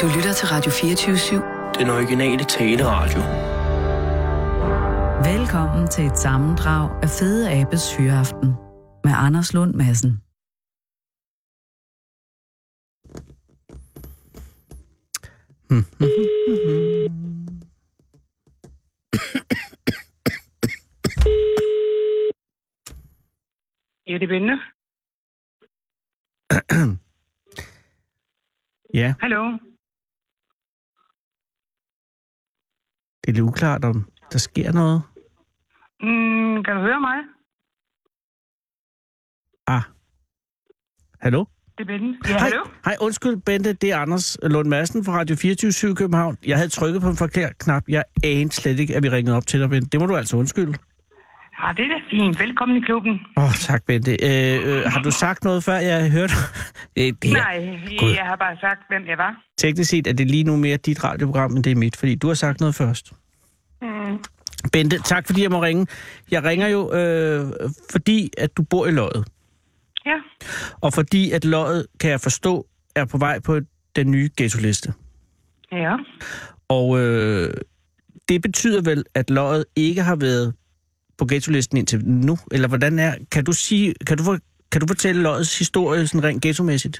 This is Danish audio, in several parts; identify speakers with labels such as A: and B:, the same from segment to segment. A: Du lytter til Radio 24
B: Den originale taleradio.
C: Velkommen til et sammendrag af Fede Abes Hyreaften med Anders Lund Madsen.
D: Ja, det er Bente.
E: Ja,
D: Hallo.
E: det er lidt uklart, om der sker noget.
D: Mm, kan du høre mig?
E: Ah. Hallo?
D: Det er Bente. Ja, hallo.
E: Hej, undskyld, Bente. Det er Anders Lund Madsen fra Radio 24 København. Jeg havde trykket på en forkert knap. Jeg anede slet ikke, at vi ringede op til dig, Bente. Det må du altså undskylde.
D: Ja, det er da fint. Velkommen i klubben.
E: Åh, oh, tak, Bente. Øh, øh, har du sagt noget, før jeg hørte? Øh, det
D: Ja.
E: er
D: Nej,
E: God.
D: jeg har bare sagt, hvem jeg var.
E: teknisk set, er det lige nu mere dit radioprogram, end det er mit, fordi du har sagt noget først.
D: Mm.
E: Bente, tak fordi jeg må ringe. Jeg ringer jo, øh, fordi at du bor i Løjet.
D: Ja.
E: Og fordi at Løjet, kan jeg forstå, er på vej på den nye ghetto-liste.
D: Ja.
E: Og øh, det betyder vel, at løjet ikke har været på ghetto-listen indtil nu? Eller hvordan er... Kan du, sige, kan du, for, kan du fortælle løjets historie sådan rent ghetto-mæssigt?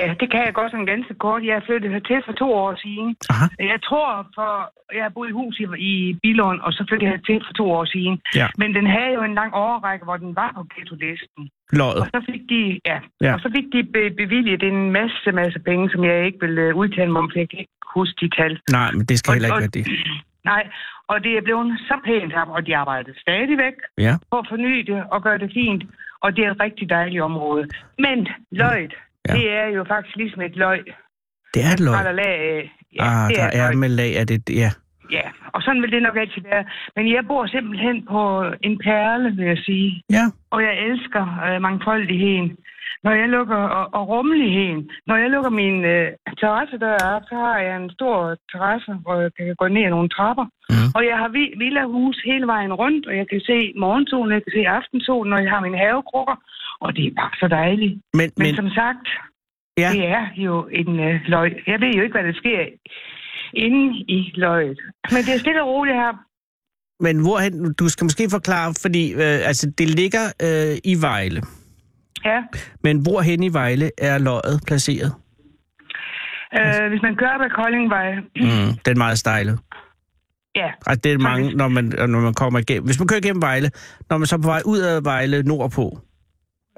D: Ja, det kan jeg godt sådan ganske kort. Jeg er flyttet hertil for to år siden.
E: Aha.
D: Jeg tror, for jeg har boet i hus i, i Bilund, og så flyttede jeg hertil for to år siden.
E: Ja.
D: Men den havde jo en lang overrække, hvor den var på ghetto-listen. Og
E: Løjet.
D: så fik de, ja,
E: Ja.
D: ja. Og så fik de be- bevilget en masse, masse penge, som jeg ikke vil øh, udtale mig om, for jeg kan ikke huske de tal.
E: Nej, men det skal
D: Og-
E: heller ikke
D: og-
E: være det.
D: Nej, og det er blevet så pænt her, og de arbejder stadigvæk
E: Ja.
D: på at forny det og gøre det fint. Og det er et rigtig dejligt område. Men løjt,
E: Ja.
D: ja. det er jo faktisk ligesom et løg.
E: Det er et
D: Eller
E: løg.
D: lag af. Ja,
E: Ah,
D: det
E: der
D: et
E: er
D: løg.
E: med lag af det. Ja.
D: ja, og sådan vil det nok altid være. Men jeg bor simpelthen på en perle, vil jeg sige.
E: Ja.
D: Og jeg elsker øh, mangfoldigheden. Når jeg lukker, og, og rummeligheden. Når jeg lukker min øh, terrassedør op, så har jeg en stor terrasse, hvor jeg kan gå ned ad nogle trapper.
E: Mhm.
D: Mm. Og jeg har vi- villahus hele vejen rundt, og jeg kan se morgensolen, jeg kan se aftensolen, og jeg har mine havekrukker. Og det er bare så dejligt.
E: Men,
D: Men,
E: men
D: Men som sagt,
E: Ja.
D: ja. det er jo en øh, løg. Jeg ved jo ikke, hvad der sker inde i løget. Men det er stille og roligt her.
E: Men hvorhen, du skal måske forklare, fordi øh, altså, det ligger øh, i Vejle.
D: Ja.
E: Men hvorhen i Vejle er løjet placeret?
D: Øh, hvis man kører på Koldingvej,
E: Mm. Den er meget stejlet.
D: ja,
E: Altså, det er mange,
D: Faktisk.
E: når man, når man kommer igennem. Hvis man kører igennem Vejle, når man så er på vej ud af Vejle nordpå.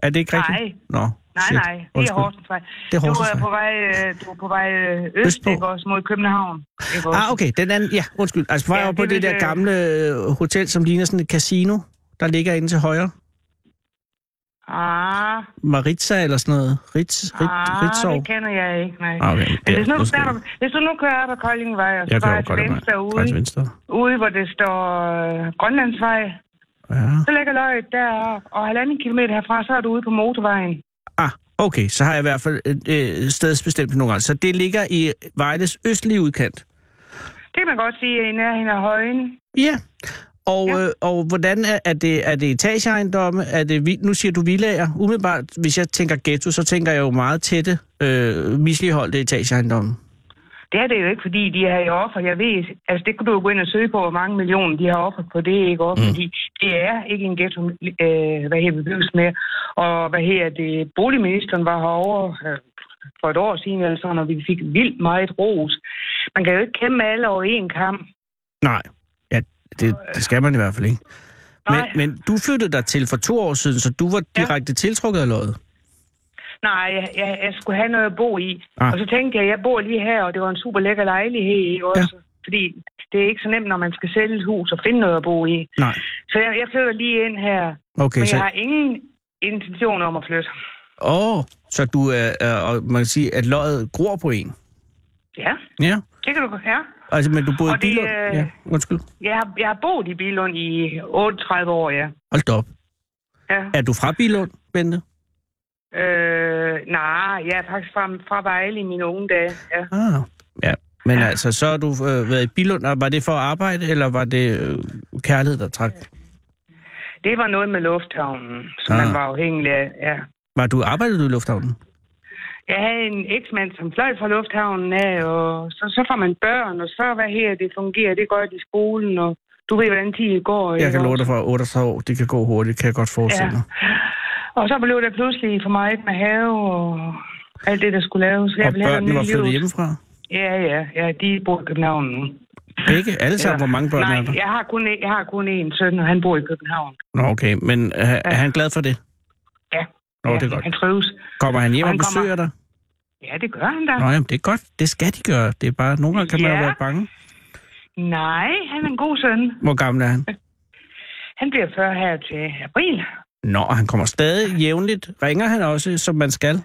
E: Er det ikke rigtigt?
D: Nej.
E: Nå,
D: Nej,
E: shit.
D: nej, det er
E: Undskyld.
D: Horsensvej.
E: Det er
D: Du
E: Horsensvej.
D: er på vej, øh, du er på vej øh, øst,
E: Østpå.
D: ikke også, mod København. Ikke også?
E: Ah, okay. Den anden, ja, undskyld. Altså, på vej
D: Ja,
E: ja, på
D: det
E: det,
D: vil
E: der
D: jeg-
E: gamle øh, hotel, som ligner sådan et casino, der ligger inde til højre.
D: Ah,
E: Maritza eller sådan noget. Ritz, Rit,
D: ah
E: Ritzov.
D: det kender jeg ikke, nej.
E: Ah, okay.
D: Men hvis, nu,
E: undskyld.
D: starter, hvis du nu kører op ad Koldingvej, og så
E: jeg
D: bare
E: kører
D: til
E: godt
D: venstre
E: af mig.
D: ude,
E: Faktisk venstre.
D: ude, hvor det står øh, Grønlandsvej,
E: Ja.
D: så ligger løget deroppe, og halvanden kilometer herfra, så er du ude på motorvejen.
E: Ah, okay. Så har jeg i hvert fald øh, øh, stedsbestemt nogle gange. Så det ligger i Vejles østlige udkant.
D: Det kan man godt sige, at i nærheden af højen.
E: Ja. Og, ja.
D: Ja.
E: Øh, og hvordan er, er det? Er det etageejendomme? Er det, vi- nu siger du villager. Umiddelbart, hvis jeg tænker ghetto, så tænker jeg jo meget tætte, øh, misligholdte etageejendomme.
D: Det er det jo ikke, fordi de har jo offer. Jeg ved, altså det kunne du jo gå ind og søge på, hvor mange millioner de har offer på det, ikke også? Mm. Fordi det er ikke en ghetto, øh, hvad her bebyggelse med. Og hvad her det, boligministeren var herovre øh, for et år siden, eller sådan, og vi fik vildt meget ros. Man kan jo ikke kæmpe alle over en kamp.
E: Nej. Ja, det, det skal man i hvert fald ikke. Men,
D: Nej.
E: men du flyttede dig til for to år siden, så du var
D: Ja.
E: direkte tiltrukket af løjet.
D: Nej, jeg, jeg, jeg skulle have noget at bo i.
E: Ah.
D: Ah. Og så tænkte jeg, at jeg bor lige her, og det var en super lækker lejlighed ikke også. Ja. Fordi det er ikke så nemt, når man skal sælge et hus og finde noget at bo i.
E: Nej.
D: Så jeg, jeg flytter lige ind her.
E: Okay,
D: Men
E: så...
D: jeg har ingen intention om at flytte.
E: Åh, så du er... Øh, og man kan sige, at løjet gror på en.
D: Ja,
E: Ja.
D: det kan du godt ja.
E: Altså, men du boede i
D: Og det,
E: Bilund...
D: øh,
E: Ja, undskyld.
D: Jeg har, jeg har boet i Bilund i 38 år, ja.
E: Hold da op.
D: ja.
E: Er du fra Bilund, Bente?
D: Øh, nej, jeg er faktisk fra, fra Vejle i mine unge dage. Ja.
E: Ah, ja. Men altså, så har du øh, været i Bilund, og var det for at arbejde, eller var det øh, kærlighed, der trak?
D: Det var noget med lufthavnen, som
E: Ah.
D: man var afhængig af. Ja.
E: Var du, arbejdede du i lufthavnen?
D: Jeg havde en eksmand, som fløj fra lufthavnen af, og så, så får man børn, og så hvad her, det fungerer, det godt i skolen, og du ved, hvordan tiden går.
E: Jeg
D: ikke
E: kan love
D: også?
E: dig for, at 38 år, det kan gå hurtigt, kan jeg godt forestille mig.
D: Og så blev det pludselig for meget med have og alt det, der skulle laves. Jeg
E: Og
D: ville have
E: børnene
D: noget
E: var
D: nyt
E: flyttet
D: liv.
E: hjemmefra.
D: Ja, ja, ja, de bor i København nu.
E: Begge? Alle sammen? Hvor mange børn
D: Nej,
E: er der?
D: jeg har, kun, en- jeg har kun én søn, og han bor i København.
E: Nå, okay. Men øh, er, er han glad for det?
D: Ja.
E: Nå,
D: ja,
E: det er godt.
D: Han trives.
E: Kommer han hjem
D: Og
E: og
D: han kommer-
E: besøger dig?
D: Ja, det gør han da.
E: Nå, jamen, det er godt. Det skal de gøre. Det er bare, nogle gange kan man jo
D: Ja.
E: være bange.
D: Nej, han er en god søn.
E: Hvor gammel er han?
D: Han bliver 40 her til april.
E: Nå, og han kommer stadig jævnligt. Ringer han også, som man skal?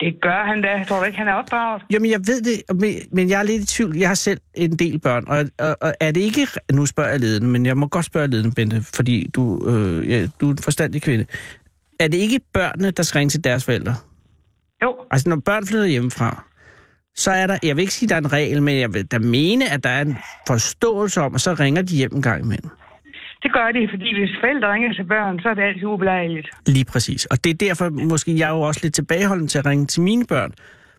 D: Det gør han da. Tror du ikke, han er opdraget?
E: Jamen, jeg ved det, men- men jeg er lidt i tvivl. Jeg har selv en del børn, og, og, og er det ikke... Nu spørger jeg ledende, men jeg må godt spørge ledende, Bente, fordi du, øh, ja, du er en forstandig kvinde. Er det ikke børnene, der skal ringe til deres forældre?
D: Jo,
E: Altså, når børn flytter hjemmefra, så er der... Jeg vil ikke sige, at der er en regel, men jeg vil da mene, at der er en forståelse om, og så ringer de hjem en gang imellem.
D: det gør de, fordi hvis forældre ringer til børn, så er det altid ubelejligt.
E: Lige præcis. Og det er derfor, måske jeg er jo også lidt tilbageholden til at ringe til mine børn.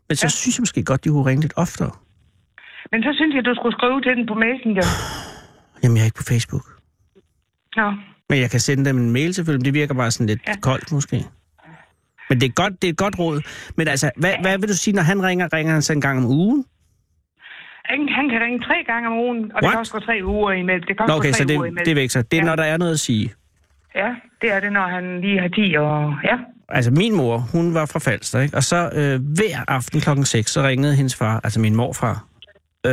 E: Men så ja. synes jeg måske godt, de kunne ringe lidt oftere.
D: Men så synes jeg, du skulle skrive til den på Messenger.
E: Jamen, jeg er ikke på Facebook.
D: Nå.
E: Men jeg kan sende dem en mail selvfølgelig, men det virker bare sådan lidt ja. koldt måske. Men det er, godt, det er et godt råd. Men altså, hvad, hvad vil du sige, når han ringer? Ringer han så en gang om ugen?
D: Han, han kan ringe tre gange om ugen, og det
E: What?
D: kan også gå tre uger imellem. Det kan
E: Nå,
D: også
E: okay,
D: gå tre
E: så det,
D: uger imellem.
E: det er væk så. Det er,
D: Ja.
E: når der er noget at sige.
D: Ja, det er det, når han lige har 10 og... Ja,
E: Altså, min mor, hun var fra Falster, ikke? Og så øh, hver aften klokken 6, så ringede hendes far, altså min morfar, øh,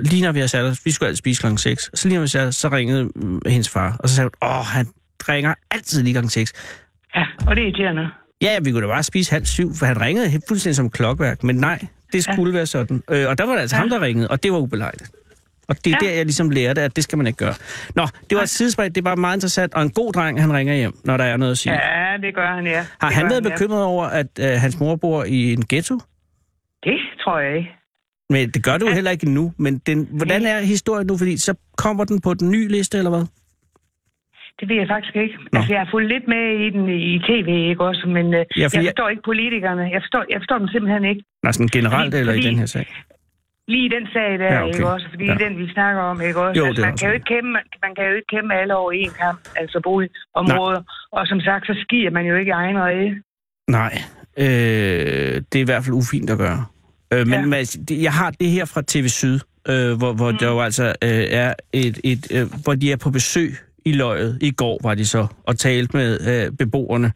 E: lige når vi havde sat os, vi skulle altid spise klokken 6, så lige når vi satte os, så ringede øh, hendes far, og så sagde hun, åh, han ringer altid lige klokken 6.
D: ja og det er irriterende.
E: Ja, ja, vi kunne da bare spise halv syv, for han ringede helt fuldstændig som klokværk. Men nej, det skulle ja. være sådan. Øh, og der var det altså ja. ham, der ringede, og det var ubelejligt. Og det er ja.
D: Ja.
E: der, jeg ligesom lærte, at det skal man ikke gøre. Nå, det var et sidespring, det var meget interessant. Og en god dreng, han ringer hjem, når der er noget at sige. Ja,
D: Ja, det gør han, ja. Det
E: Har
D: gør
E: han været
D: ja.
E: bekymret over, at øh, hans mor bor i en ghetto?
D: Det tror jeg ikke.
E: Men det gør du jo heller ikke nu. Men den, hvordan er historien nu? Fordi så kommer den på den nye liste, eller hvad?
D: Det ved jeg faktisk ikke. Nå.
E: Nå.
D: Altså, jeg har fulgt lidt med i den i tv, ikke også? Men øh,
E: Ja,
D: ja,
E: for
D: jeg
E: jeg-
D: forstår ikke politikerne. Jeg forstår, jeg forstår dem simpelthen ikke.
E: Nå, sådan generelt
D: Fordi-
E: eller i
D: fordi-
E: den her sag?
D: Lige i den sag der,
E: Ja,
D: ja,
E: okay.
D: okay. ikke også? Fordi
E: Ja.
D: ja. den, vi snakker om, ikke også?
E: Jo,
D: altså,
E: det er
D: man, kan jo
E: også-
D: ikke kæmpe, man kan jo ikke kæmpe alle over en kamp, altså boligområder. Og som sagt, så skier man jo ikke i egen rede.
E: Nej, øh, det er i hvert fald ufint at gøre. Øh, men
D: Ja.
E: ja. jeg har det her fra TV Syd, øh, hvor, hvor mm. der jo altså øh, er et, et øh, hvor de er på besøg i løjet. I går var de så og talte med øh, beboerne,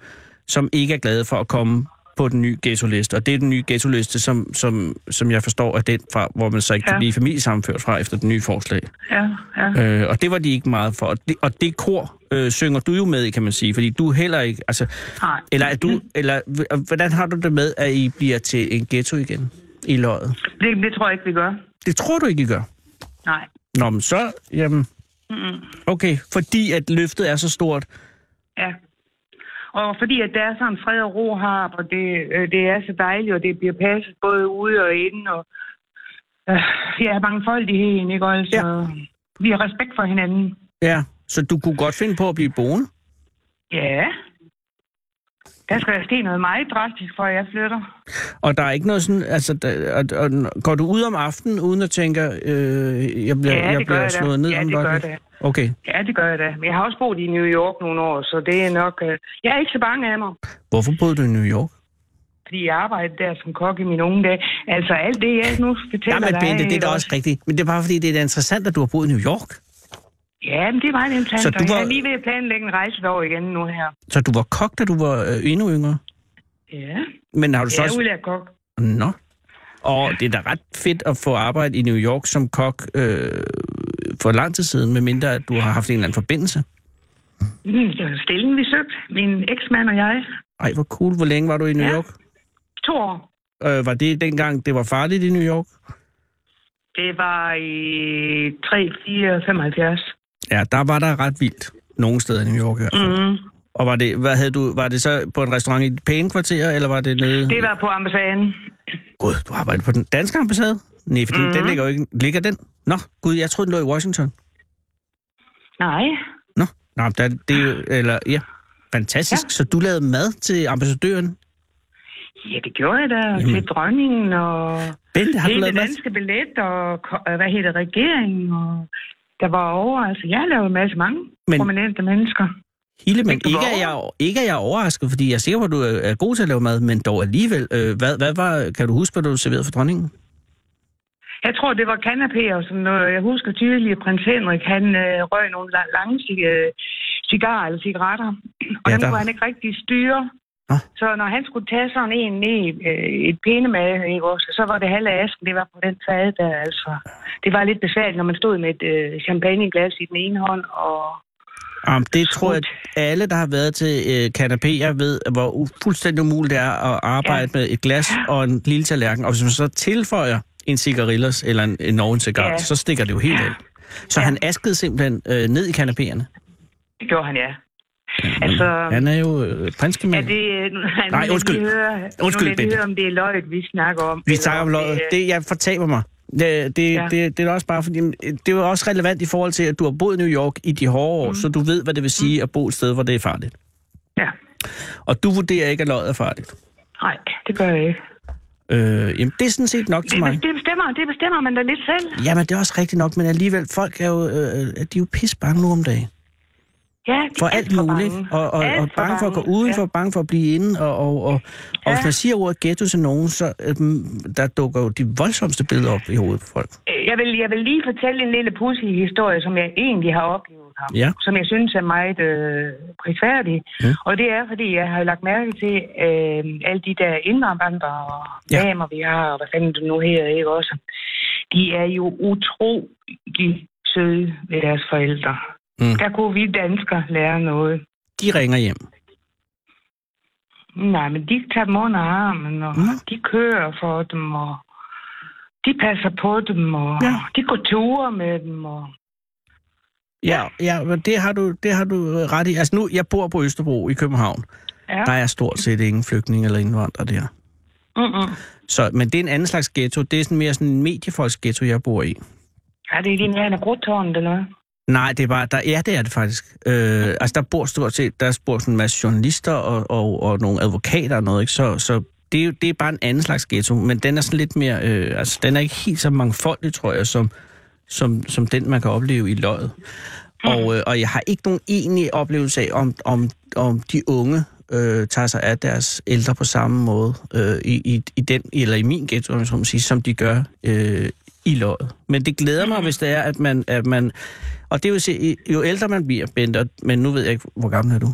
E: som ikke er glade for at komme på den nye ghetto-liste. Og det er den nye ghetto-liste, som, som, som jeg forstår er den fra, hvor man så ikke ja. kan
D: Ja.
E: blive familiesammenført fra efter den nye forslag.
D: Ja, ja.
E: Øh, og det var de ikke meget for. Og det, og det kor øh, synger du jo med i, kan man sige, fordi du er heller ikke... Altså,
D: Nej.
E: eller, er du,
D: Mm.
E: eller h- hvordan har du det med, at I bliver til en ghetto igen i løjet?
D: Det, det tror jeg ikke, vi gør.
E: Det tror du ikke, I gør?
D: Nej.
E: Nå, men så... Jamen, okay, fordi at løftet er så stort.
D: Ja. Og fordi at der er sådan fred og ro her, og det, øh, det er så dejligt, og det bliver passet både ude og inde, og øh, ja, mangfoldigheden, ikke også?
E: Ja.
D: Og Vi har respekt for hinanden.
E: Ja, så du kunne godt finde på at blive boende?
D: Ja. Der skal der ske noget meget drastisk, for at jeg flytter.
E: Og der er ikke noget sådan... Altså, der, og, og, går du ud om aftenen, uden at tænke, øh, jeg
D: Ja,
E: bliver,
D: det
E: jeg
D: gør
E: bliver
D: jeg da.
E: slået ned
D: Ja,
E: om et
D: det gør
E: øjeblik?
D: jeg
E: Okay.
D: Ja, det gør jeg da. Men jeg har også boet i New York nogle år, så det er nok... Øh, jeg er ikke så bange af mig,
E: Hvorfor boede du i New York?
D: fordi jeg arbejdede der som kok i mine unge dage. Altså alt det, jeg nu fortæller
E: Nej, men
D: dig...
E: Bente, det er
D: ikke
E: da også rigtigt. Men det er bare fordi, det er da interessant, at du har boet i New York.
D: Ja, men det er meget interessant.
E: Så
D: Så
E: du var-
D: Jeg er lige ved at planlægge en rejse derover igen nu her.
E: Så du var kok, da du var øh, endnu yngre.
D: Ja,
E: Men har du så
D: jeg er
E: også...
D: udlært kok.
E: Nå. Og det er da ret fedt at få arbejde i New York som kok øh, for lang tid siden, medmindre at du har haft en eller anden forbindelse.
D: Mm, det var Stillingen vi søgte, min eksmand og jeg.
E: Ej, hvor cool. Hvor længe var du i New
D: Ja.
E: York?
D: To år.
E: Øh, var det dengang, det var farligt i New York?
D: Det var i 3, 4, 75.
E: Ja, der var der ret vildt. Nogle steder i New York i hvert fald.
D: Mm.
E: Og var det, hvad havde du, var det så på en restaurant i det pæne kvarter, eller var det nede?
D: Det var på ambassaden.
E: Gud, du arbejdede på den danske ambassade? Nej, for mm. den ligger jo ikke... Ligger den? Nå, gud, jeg troede, den lå i Washington.
D: Nej.
E: Nå, Nå men der, det er jo... Eller, ja, fantastisk. Ja. Så du lavede mad til ambassadøren?
D: Ja, det gjorde jeg da. Og til dronningen og
E: Bente, har du
D: hele den
E: lavet masser?
D: danske billet og ko- øh, hvad hedder regeringen. Og der var over, altså jeg lavede en masse mange
E: Men-
D: Men... prominente mennesker.
E: Hele, men
D: Fik du
E: ikke
D: over?
E: er, jeg, ikke er jeg overrasket, fordi jeg er sikker på, at du er, er god til at lave mad, men dog alligevel. Øh, hvad, hvad var, kan du huske, hvad du serverede for dronningen?
D: Jeg tror, det var kanapé og sådan noget. Jeg husker tydeligt, at prins Henrik, han øh, røg nogle la- lange ci- øh, cigarer eller cigaretter. Og ja,
E: Ja,
D: dem
E: der-
D: kunne han ikke rigtig styre.
E: Nå.
D: Så når han skulle tage sådan en ned i øh, et pindemad, ikke også, så var det halve asken, det var på den fade der, altså. Det var lidt besværligt, når man stod med et øh, champagneglas i den ene hånd, og
E: Jamen, det tror jeg,
D: Smukt.
E: at alle, der har været til øh, kanapéer, ved, hvor u- fuldstændig umuligt det er at arbejde ja. med et glas og en lille tallerken. Og hvis man så tilføjer en cigarillos eller en, en nogen cigar, ja.
D: Ja.
E: så stikker det jo helt af. Så ja. han askede simpelthen øh, ned i kanapéerne.
D: det gjorde han, ja.
E: Mm-hmm.
D: Altså,
E: Han er jo øh,
D: er
E: prinskemand.
D: det... Nej,
E: undskyld.
D: Høre, nu vil
E: Undskyld,
D: jeg
E: Bente.
D: lige høre, om det er løjet, vi snakker om.
E: Vi
D: eller
E: snakker om
D: det
E: løget.
D: er-
E: Det, jeg fortaber mig. Det, det, ja.
D: Ja.
E: det, det er da også bare fordi, det er jo også relevant i forhold til, at du har boet i New York i de hårde år, mm. så du ved, hvad det vil sige at bo et sted, hvor det er farligt.
D: Ja.
E: Og du vurderer ikke, at løjet er farligt.
D: Nej, det gør jeg ikke.
E: Øh, jamen, det er sådan set nok til
D: Det,
E: mig.
D: det, bestemmer, det bestemmer man da lidt selv.
E: Jamen, det er også rigtigt nok, men alligevel, folk er jo, øh, de er jo pisse bange nu om dagen.
D: Ja, de er
E: For alt
D: for
E: muligt.
D: bange.
E: Og, og,
D: Alt
E: og bange for at gå udenfor, ja. bange for at blive inde. Og, og, og, og hvis
D: Ja.
E: man siger ordet ghetto til nogen, så øhm, der dukker jo de voldsomste billeder op i hovedet på folk.
D: Ja. Øh, Jeg vil, jeg vil lige fortælle en lille pudsig historie, som jeg egentlig har oplevet ham.
E: Ja.
D: Som jeg synes er meget øh, prisværdig.
E: Ja.
D: Og det er, fordi jeg har lagt mærke til øh, alle de der indvandrere og
E: Ja.
D: ja. damer, vi har, og hvad fanden det nu her, ikke også? De er jo utrolig søde ved deres forældre.
E: Mm.
D: Mm. Der kunne vi danskere lære noget.
E: De ringer hjem.
D: Nej, men de tager dem under armen, og
E: Nå.
D: mm. de kører for dem, og de passer på dem, og
E: Ja.
D: ja. de går ture med dem. Og...
E: Ja, ja men det har, du, det har du øh, ret i. Altså nu, jeg bor på Østerbro i København.
D: Ja.
E: Der er stort set ingen flygtninge eller indvandrere der.
D: Mm-mm.
E: Så, men det er en anden slags ghetto. Det er sådan mere sådan en mediefolks ghetto, jeg bor i.
D: Er det i din nærmeste grotårn, eller hvad?
E: Nej, det er bare, der, ja, det er det faktisk. Øh, altså, der bor stort set, der bor sådan en masse journalister og, og, og nogle advokater og noget, ikke? Så, så det, er, jo- det er bare en anden slags ghetto, men den er sådan lidt mere, øh, altså, den er ikke helt så mangfoldig, tror jeg, som, som, som den, man kan opleve i løjet. Og, øh, og jeg har ikke nogen egentlig oplevelse af, om, om, om de unge øh, tager sig af deres ældre på samme måde øh, i, i, i den, eller i min ghetto, om jeg så må sige, som de gør øh, i løjet. Men det glæder mig, hvis det er, at man... At man og det vil sige, jo ældre man bliver, Bente, og- men nu ved jeg ikke, hvor gammel er du?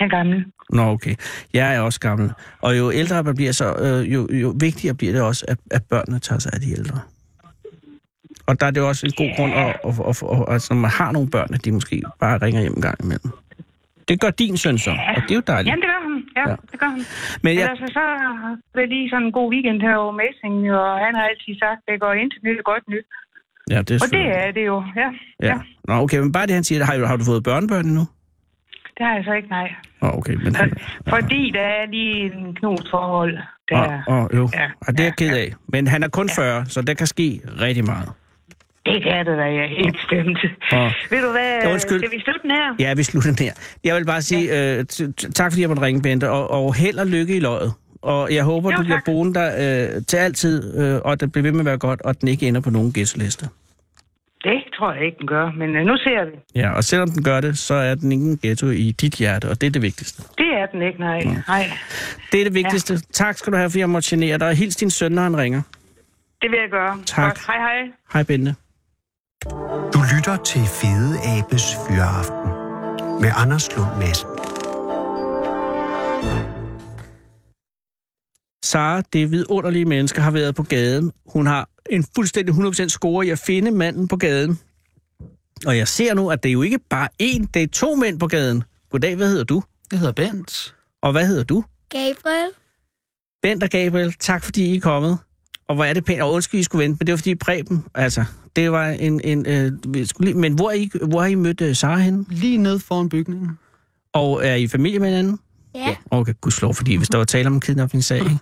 D: Jeg er gammel.
E: Nå, okay. Jeg er også gammel. Og jo ældre man bliver, så øh, jo, jo vigtigere bliver det også, at, at børnene tager sig af de ældre. Og der er det jo også en god grund, at, at, at, at, at, at når man har nogle børn, at de måske bare ringer hjem en gang imellem. Det gør din søn så, og det er jo dejligt.
D: Jamen, det gør han. Ja,
E: Ja.
D: ja. det gør han.
E: Men
D: Ja.
E: jeg,
D: Ellers så- så vil jeg lige sådan en god weekend her over Messing, og han har altid sagt, det går ind til nyt er godt nyt.
E: ja, det er,
D: Og det
E: selvfølgelig-
D: er det jo, ja.
E: ja. Nå, okay, men bare det, han siger, har, du- har du fået børnebørn nu?
D: Det har jeg så ikke, nej.
E: Nå, okay, men han...
D: Fordi der er lige en knust forhold. Der.
E: Ja. Og, og, jo.
D: Ja,
E: Ja, og det er jeg ked af. Men han er kun 40, så der kan ske rigtig meget.
D: Det kan det da, jeg er helt stemt.
E: Og-
D: Ved du hvad,
E: Undskyld.
D: skal vi slutte den her?
E: Ja, vi slutter der. Jeg vil bare sige ja. øh, t- t- tak, fordi jeg måtte ringe, Bente, og, og held og lykke i løjet. Og jeg håber,
D: Jo,
E: du bliver
D: tak.
E: boende der øh, til altid, øh, og at det bliver ved med at være godt, og at den ikke ender på nogen ghetto-liste.
D: Det tror jeg ikke, den gør, men øh, nu ser vi.
E: Ja, og selvom den gør det, så er den ingen ghetto i dit hjerte, og det er det vigtigste.
D: Det er den ikke, nej. nej.
E: Det er det vigtigste. Ja. Tak skal du have, fordi jeg måtte genere dig. Og hils din søn, når han ringer.
D: Det vil jeg gøre.
E: Tak.
D: Godt. Hej, hej.
E: Hej, Bente.
F: Du lytter til Fede Abes Fyraften med Anders Lund Madsen.
E: Sara, det vidunderlige menneske, har været på gaden. Hun har en fuldstændig 100% score i at finde manden på gaden. Og jeg ser nu, at det er jo ikke bare én, det er to mænd på gaden. Goddag, hvad hedder du?
B: Jeg hedder Bent.
E: Og hvad hedder du?
G: Gabriel.
E: Bent og Gabriel, tak fordi I er kommet. Og hvor er det pænt. Og undskyld, I skulle vente, men det var fordi Preben, altså, det var en... en øh, vi skulle lige, men hvor, er I, hvor har I mødt øh, Sara henne?
B: Lige nede foran bygningen.
E: Og er I familie med hinanden?
G: Ja.
E: Okay, gudslov, fordi hvis der var tale om en kidnapningssag, ikke?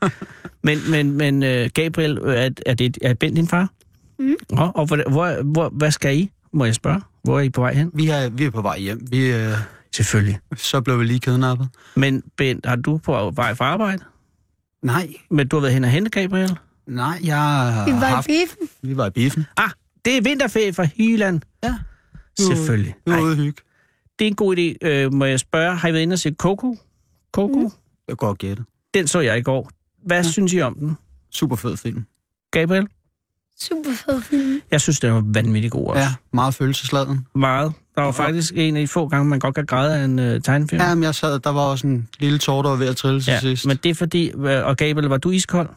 E: Men, men, men øh, Gabriel, øh, er, er, det, er Bent din far?
G: Mm.
E: Nå, og hvor, hvor, hvor, hvad skal I? Må jeg spørge? Hvor er I på vej hen?
B: Vi er, vi er på vej hjem. Vi, øh,
E: Selvfølgelig.
B: så blev vi lige kidnappet.
E: Men Bent, har du på vej fra arbejde?
B: Nej,
E: Men du har været hen og hente, Gabriel?
B: nej, jeg har
G: Vi var i
B: haft...
G: biffen.
B: Vi var i biffen.
E: Ah, det er vinterferie fra Hyland.
B: Ja.
E: Selvfølgelig.
B: Vi var
E: Ej,
B: ude at hygge.
E: det er en god idé. Øh, må jeg spørge, har I været inde og se Coco? Coco? Mm.
B: Jeg kan godt gætte.
E: Den så jeg i går. Hvad mm. synes I om den,
B: Super fed film.
E: Gabriel?
G: Super fed film.
E: Jeg synes, den var vanvittig god også.
B: Ja, meget følelsesladen.
E: Meget. Der var faktisk en af de få gange, man godt kan græde af en øh, tegnefilm.
B: Ja, men jeg sad, der var også en lille tår, der var ved at trille til sidst.
E: men det er fordi... øh, Og Gabriel, var du iskold?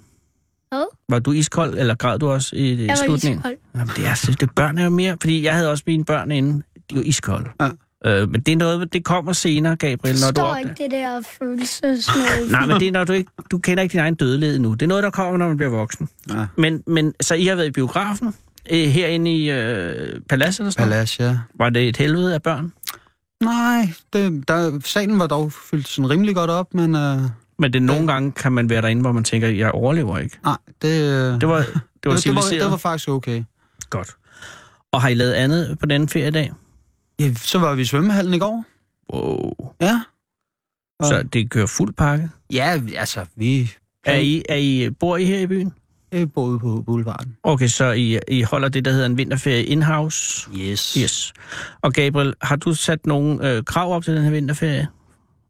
G: Hvad?
E: Var du iskold, eller græd du også i øh,
G: Jeg var
E: slutningen?
G: iskold.
E: Jamen, det er simpelthen... det- Børn er jo mere... Fordi jeg havde også mine børn inde. De var iskolde.
B: Ja.
E: Øh, men det er noget, det kommer senere, Gabriel, når du
G: Forstår
E: opdager.
G: ikke det der følelsesmåde.
E: Nej, men det er, når du ikke... Du kender ikke din egen dødelighed nu. Det er noget, der kommer, når man bliver voksen.
B: Ja.
E: Men, men så I har været i biografen? Øh, herinde i øh, Palas eller sådan noget?
B: Palace, ja.
E: Var det et helvede af børn?
B: Nej, det, der, salen var dog fyldt sådan rimelig godt op, men øh,
E: Men det, nogle gange kan man være derinde, hvor man tænker, jeg overlever ikke.
B: nej, det, øh,
E: Det var, det var
B: det, det, var,
E: civiliseret.
B: det var faktisk okay.
E: Godt. Og har I lavet andet på den feriedag?
B: Ja, så var vi i svømmehallen i går.
E: Wow.
B: Ja. Og,
E: Så det kører fuld pakke.
B: Ja, altså, vi
E: Er I, er I, bor I her i byen?
B: øh, boede på boulevarden.
E: Okay, så I, I holder det, der hedder en vinterferie in-house?
B: Yes.
E: Yes. Og Gabriel, har du sat nogle øh, krav op til den her vinterferie?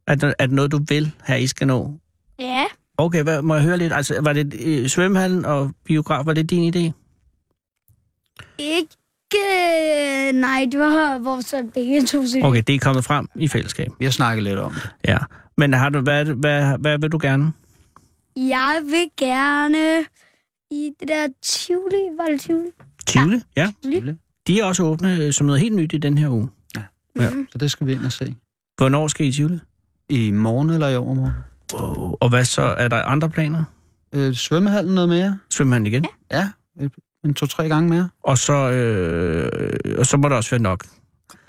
E: Er det, er det noget, du vil her, I skal nå?
G: Ja,
E: Okay, hvad, må jeg høre lidt? Altså, var det øh, svømmehallen og biograf, var det din idé?
G: ikke... øh, Nej, det var vores begge to se.
E: Okay, det er kommet frem i fællesskab.
B: Vi har snakket lidt om det.
E: Ja. Men har du, hvad, hvad, hvad vil du gerne?
G: Jeg vil gerne i det der Tivoli. Var det Tivoli?
E: Tivoli? Ja.
G: Tivoli.
E: De er også åbne øh, som noget helt nyt i den her uge.
G: Mm.
B: Så det skal vi ind og se.
E: Hvornår skal I i Tivoli?
B: I morgen eller i overmorgen.
E: Wow. Og hvad så? Er der andre planer?
B: Øh, svømmehallen noget mere.
E: Svømmer han igen? Ja.
B: Ja, øh, en to-tre gange mere.
E: Og, så, øh, og så må der også være nok.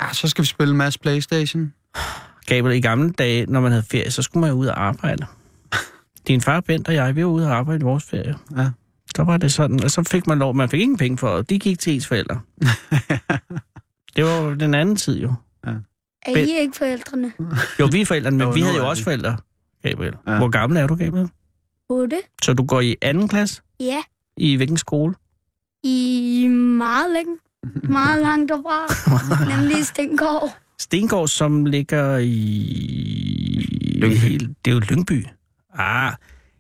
B: Ja, så skal vi spille en masse Playstation.
E: Gabriel, i gamle dage, når man havde ferie, så skulle man jo ud og arbejde. Din far, Bent og jeg, vi var ude og arbejde i vores ferie.
B: Ja.
E: Så var det sådan, og så fik man lov. Man fik ingen penge for det. De gik til ens forældre. det var jo den anden tid jo.
G: Er I ikke forældrene?
E: Jo, vi er forældrene, men
B: Jo,
E: vi
B: nu
E: havde jo
B: er
E: også
B: vi.
E: forældre, Gabriel. Ja.
B: Ja.
E: Hvor gammel er du, Gabriel?
G: Otte?
E: Så du går i anden klasse?
G: Ja.
E: I hvilken skole?
G: I meget længe. Meget langt derfra. Nemlig Stengård.
E: Stengård, som ligger i...
B: Lyngby.
E: Helt- Det er jo Lyngby. Ah,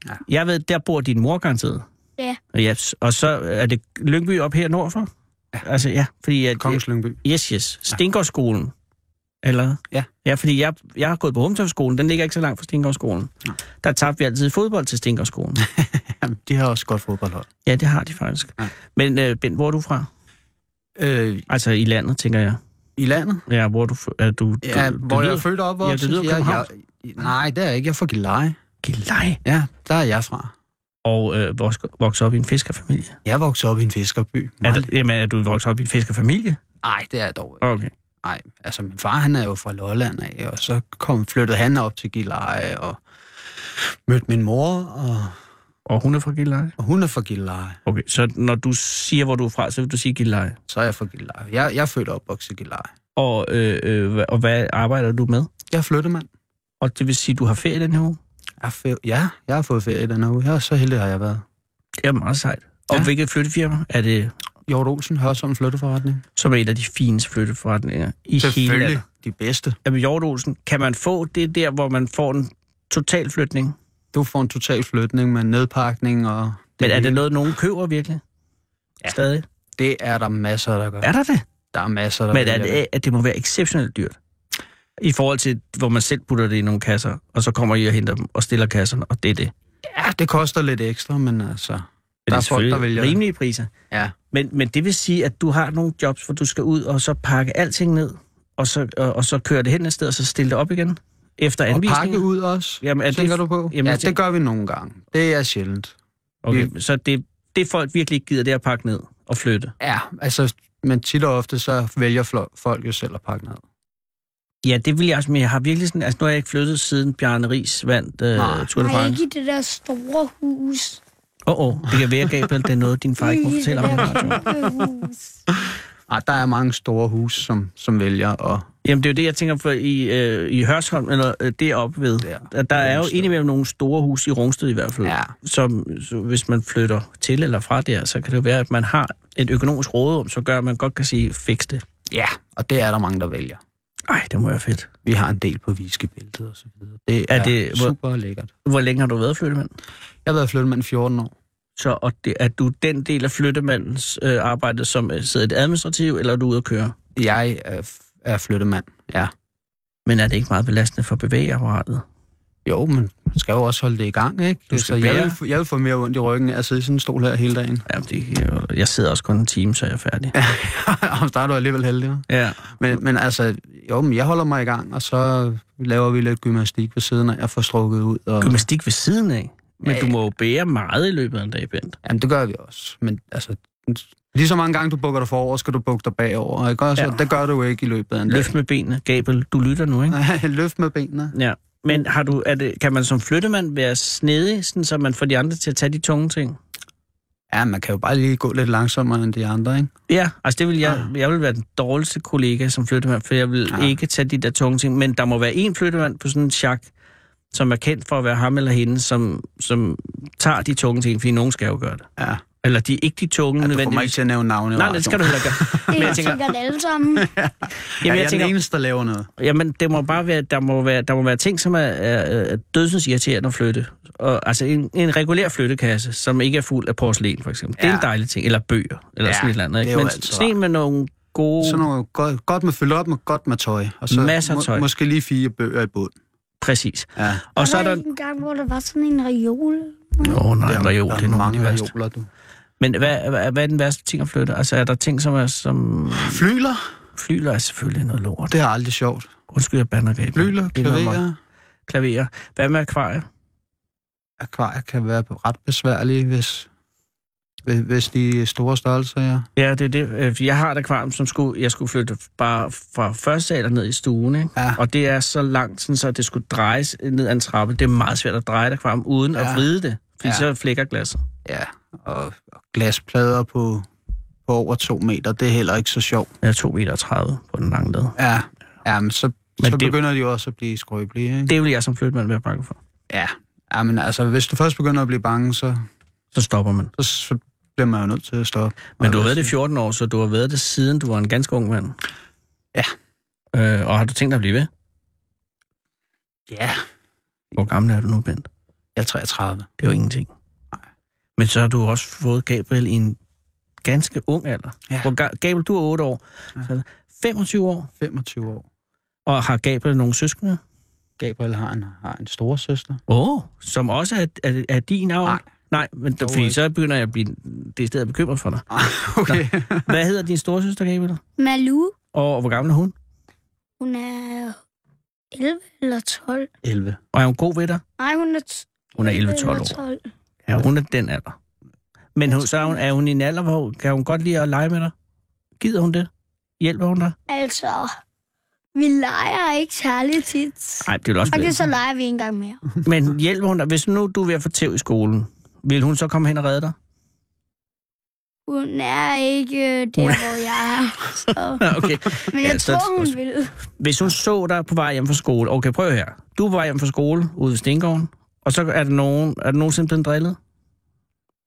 E: ja. jeg ved, der bor din mor garanteret.
G: Ja.
E: Yes. Og så er det Lyngby op her nordfor? Ja. Altså, ja, fordi... At,
B: Kongens Lyngby.
E: Yes, yes. Stengårdsskolen. Eller?
B: Ja.
E: Ja, fordi jeg, jeg har gået på Humtorfskolen. Den ligger ikke så langt fra Stengårdsskolen. Ja. Der tabte vi altid i fodbold til Stengårdsskolen.
B: Jamen, de har også godt fodboldhold.
E: ja, det har de faktisk.
B: Ja.
E: Men øh, Bent, hvor er du fra?
B: Øh,
E: Altså i landet, tænker jeg.
B: I landet?
E: Ja, hvor er du... f- Er du,
B: Ja,
E: du, du
B: hvor jeg er
E: lyder-
B: født op.
E: Ja, du lyder København.
B: Nej, det er jeg ikke. Jeg er fra Gilleleje.
E: Gilleleje.
B: Ja, der er jeg fra.
E: og øh, vok- vokset op i en fiskerfamilie. Jeg
B: Jeg voksede op i en fiskerby.
E: er det, jamen, er du vokset op i en fiskerfamilie?
B: Nej, det er jeg dog ikke.
E: Okay.
B: Nej, altså min far, han er jo fra Lolland af, og så kom, flyttede han op til Gilleleje og mødte min mor, og,
E: Og hun er fra Gilleleje?
B: og hun er fra Gilleleje.
E: Okay, så når du siger, hvor du er fra, så vil du sige Gilleleje.
B: Så er jeg fra Gilleleje. Jeg, jeg er født og opvokset i Gilleleje.
E: Og, øh, øh, hva- og hvad arbejder du med?
B: Jeg er flyttemand.
E: Og det vil sige, du har ferie den her uge?
B: Jeg er fe- ja, jeg har fået ferie den her uge. Jeg er så heldig har jeg været.
E: Det er meget sejt. Og ja.
B: Ja.
E: hvilket flyttefirma er det,
B: Hjort Olsen, Hørsholm Flytteforretning.
E: som er et af de fineste flytteforretninger i hele landet?
B: De bedste.
E: Jamen, Hjort Olsen, kan man få det der, hvor man får en total flytning?
B: Du får en total flytning med nedpakning og...
E: Men er det noget, nogen køber virkelig? Ja. Stadig?
B: Det er der masser, der gør.
E: Er der det?
B: Der er masser, der
E: Men
B: vælger
E: at,
B: det.
E: at det må være exceptionelt dyrt. I forhold til, hvor man selv putter det i nogle kasser, og så kommer I og henter dem og stiller kasserne, og det er det.
B: Ja, det koster lidt ekstra, men altså...
E: Men
B: der
E: det
B: er folk, der
E: selvfølgelig
B: vælger det.
E: rimelige priser.
B: Ja.
E: Men, men det vil sige, at du har nogle jobs, hvor du skal ud og så pakke alting ned, og så, og, og så køre det hen et sted, og så stille det op igen efter
B: Og
E: anvisning.
B: pakke ud også,
E: Jamen, er det-
B: tænker du på?
E: Jamen,
B: Jamen, ja,
E: jeg
B: det
E: tænker-
B: gør vi nogle gange. Det er sjældent.
E: Okay, så det, det folk virkelig ikke gider, det er at pakke ned og flytte.
B: Ja, altså, men tit og ofte, så vælger flo- folk jo selv at pakke ned.
E: Ja, det vil jeg også, men jeg har virkelig sådan, altså nu har jeg ikke flyttet siden Bjarne Ries vandt øh,
B: Nej.
E: Tour de
G: Nej,
E: France.
G: ikke i det der store hus.
E: Åh, oh, oh, det kan være, Gabriel, det er noget, din far ikke må
G: Ikke i
E: fortælle om. i
G: det der
E: radioen.
G: kæmpe hus.
B: Ej, der er mange store hus, som, som vælger at
E: Jamen, det er jo det, jeg tænker for i, øh, i Hørsholm, eller øh, deroppe ved.
B: Der.
E: Der, der er jo
B: Rungsted.
E: indimellem nogle store huse i Rungsted i hvert fald,
B: Ja.
E: som så hvis man flytter til eller fra der, så kan det jo være, at man har et økonomisk råderum, så gør, at man godt kan sige, fix det.
B: Ja, og det er der mange, der vælger.
E: Ej, det må være fedt.
B: Vi har en del på viskebæltet og så videre. Det er,
E: Er
B: er
E: det-
B: det, super lækkert.
E: Hvor længe har du været flyttemand?
B: Jeg har været flyttemand i 14 år.
E: Så og det, er du den del af flyttemandens øh, arbejde, som øh, sidder i det administrative, eller er du ude at køre?
B: Jeg er, f- er flyttemand, ja.
E: Men er det ikke meget belastende for bevægeapparatet?
B: Jo, men man skal jo også holde det i gang, ikke?
E: Du skal
B: så jeg
E: bære.
B: vil, få- jeg vil få mere ondt i ryggen af at sidde i sådan en stol her hele dagen.
E: Jamen, det, kan jo- jeg sidder også kun en time, så er jeg færdig. Ja.
B: Og der er du alligevel heldig, hva'?
E: ja.
B: Men, men altså, jo, men jeg holder mig i gang, og så laver vi lidt gymnastik ved siden af, jeg får strukket ud. Og,
E: Gymnastik ved siden af. Men
B: Ja,
E: du
B: ja.
E: må jo bære meget i løbet af en dag, Bent.
B: jamen, det gør vi også. Men altså, lige så mange gange du bukker dig forover, skal du bukke dig bagover, ikke? Og så,
E: Ja.
B: ja. det gør du jo ikke i løbet af en dag.
E: Løft med benene. Gabel, du lytter nu, ikke?
B: Løft med benene.
E: Ja. Men har du, er det, kan man som flyttemand være snedig, sådan, så man får de andre til at tage de tunge ting?
B: Ja, man kan jo bare lige gå lidt langsommere end de andre, ikke?
E: Ja, altså det vil jeg, jeg vil være den dårligste kollega som flyttemand, for jeg vil ja.
B: Ja.
E: ikke tage de der tunge ting. Men der må være en flyttemand på sådan en chak, som er kendt for at være ham eller hende, som, som tager de tunge ting, fordi nogen skal jo gøre det.
B: Ja,
E: Eller de ikke de tunge
B: ja
E: ja,
B: du får mig ikke
E: nødvendigvis.
B: til at nævne navne. i
E: Nej, det
B: radioen.
E: skal du heller ikke gøre.
G: Det
E: Men
G: er
E: jeg tænker,
G: sikkert alle sammen.
E: jamen, jeg
B: er den
E: tænker,
B: eneste, der laver noget.
E: jamen, det
B: Mhm.
E: må bare være, der må være, der må være ting, som er, er, er dødsens irriterende at flytte. Og, altså en, en regulær flyttekasse, som ikke er fuld af porcelæn, for eksempel. Ja. Det er
B: Ja.
E: en dejlig ting. Eller bøger, eller ja,
B: Ja,
E: sådan et eller andet.
B: det er
E: Ikke?
B: jo
E: Men
B: altid
E: sådan en med nogle gode...
B: Sådan noget godt, godt med fylde op med godt med tøj. Og så
E: Masser af tøj.
B: Må, måske lige fire bøger i bund.
E: Præcis.
B: Ja.
E: Og så er der...
G: en gang, hvor der var sådan en reol.
E: Åh oh, nej,
B: Der
E: reol,
B: der
E: det er nogle af
B: mange
E: de værste.
B: reoler, du.
E: Men hvad, hvad, hvad er den værste ting at flytte? Altså er der ting, som er som...
B: Flyler,
E: Flyler er selvfølgelig noget lort.
B: det er aldrig sjovt.
E: Undskyld, jeg bander gabet.
B: Flyler,
E: Det er noget møg.
B: klaverer.
E: Klaverer. Hvad med akvarier?
B: Akvarier kan være ret besværlige, hvis, hvis- hvis de er store størrelser, ja.
E: Ja, det er det. Øh, Jeg har et akvarium, som skulle, jeg skulle flytte bare fra første sal og ned i stuen. Ikke?
B: Ja.
E: Og det er så langt, sådan, så det skulle drejes ned ad en trappe. Det er meget svært at dreje et akvarium uden ja. at
B: Ja.
E: vride det. Fordi ja.
B: Ja.
E: så flækker glasset.
B: ja. Og, og glasplader på, på over to meter, det er heller ikke så sjovt.
E: Jeg er 2,30 meter på den lange led.
B: Ja, ja men så,
E: Men
B: men så
E: det-
B: det... begynder de jo også at blive skrøbelige, ikke?
E: Det vil jeg som flyttemand være bange for.
B: Ja. ja, men altså, hvis du først begynder at blive bange, så,
E: Så stopper man.
B: så, så bliver man jo nødt til at stoppe.
E: Men du har
B: Og-
E: været det i 14 år, så du har været det siden du var en ganske ung mand.
B: Ja.
E: Øh, og har du tænkt dig at blive ved?
B: Ja,
E: Hvor gammel er du nu, Bent?
B: jeg er 33.
E: Det er jo ingenting. Men så har du også fået Gabriel i en ganske ung alder.
B: Ja.
E: Hvor ga- Gabriel, du er 8 år.
B: Ja.
E: Så 25 år.
B: 25 år.
E: Og har Gabriel nogle søskende?
B: Gabriel har en, har en storesøster.
E: Åh, oh, som også er, er, er din arv?
B: Nej.
E: Nej, øh. men
B: Dog
E: fordi
B: ikke.
E: så begynder jeg at blive det stedet bekymret for dig.
B: Okay.
E: Hvad hedder din storesøster, Gabriel?
G: Malu,
E: Og hvor gammel er hun?
G: hun er 11 eller 12.
B: 11.
E: Og er hun god ved dig?
G: Nej, hun er, t-
E: Hun er 11-12
G: eller
E: år. Ja, hun er den alder. Men hun, så er hun, er hun i en alder, hvor kan hun godt lide at lege med dig? Gider hun det? Hjælper hun dig?
G: Altså, vi leger ikke særlig tit.
E: Nej, det vil også
G: Okay,
E: blive.
G: så leger vi en gang mere.
E: Men hjælper hun dig? Hvis nu du er ved at få tæv i skolen, vil hun så komme hen og redde dig?
G: Hun er ikke øh, der, hvor jeg er. Så.
E: Okay.
G: Men jeg
E: Ja, så-
G: tror, hun vil.
E: Hvis hun så dig på vej hjem fra skole, okay, prøv her. Du er på vej hjem fra skole ude ved Stengården, og så er der nogen, er du nogensinde blevet drillet?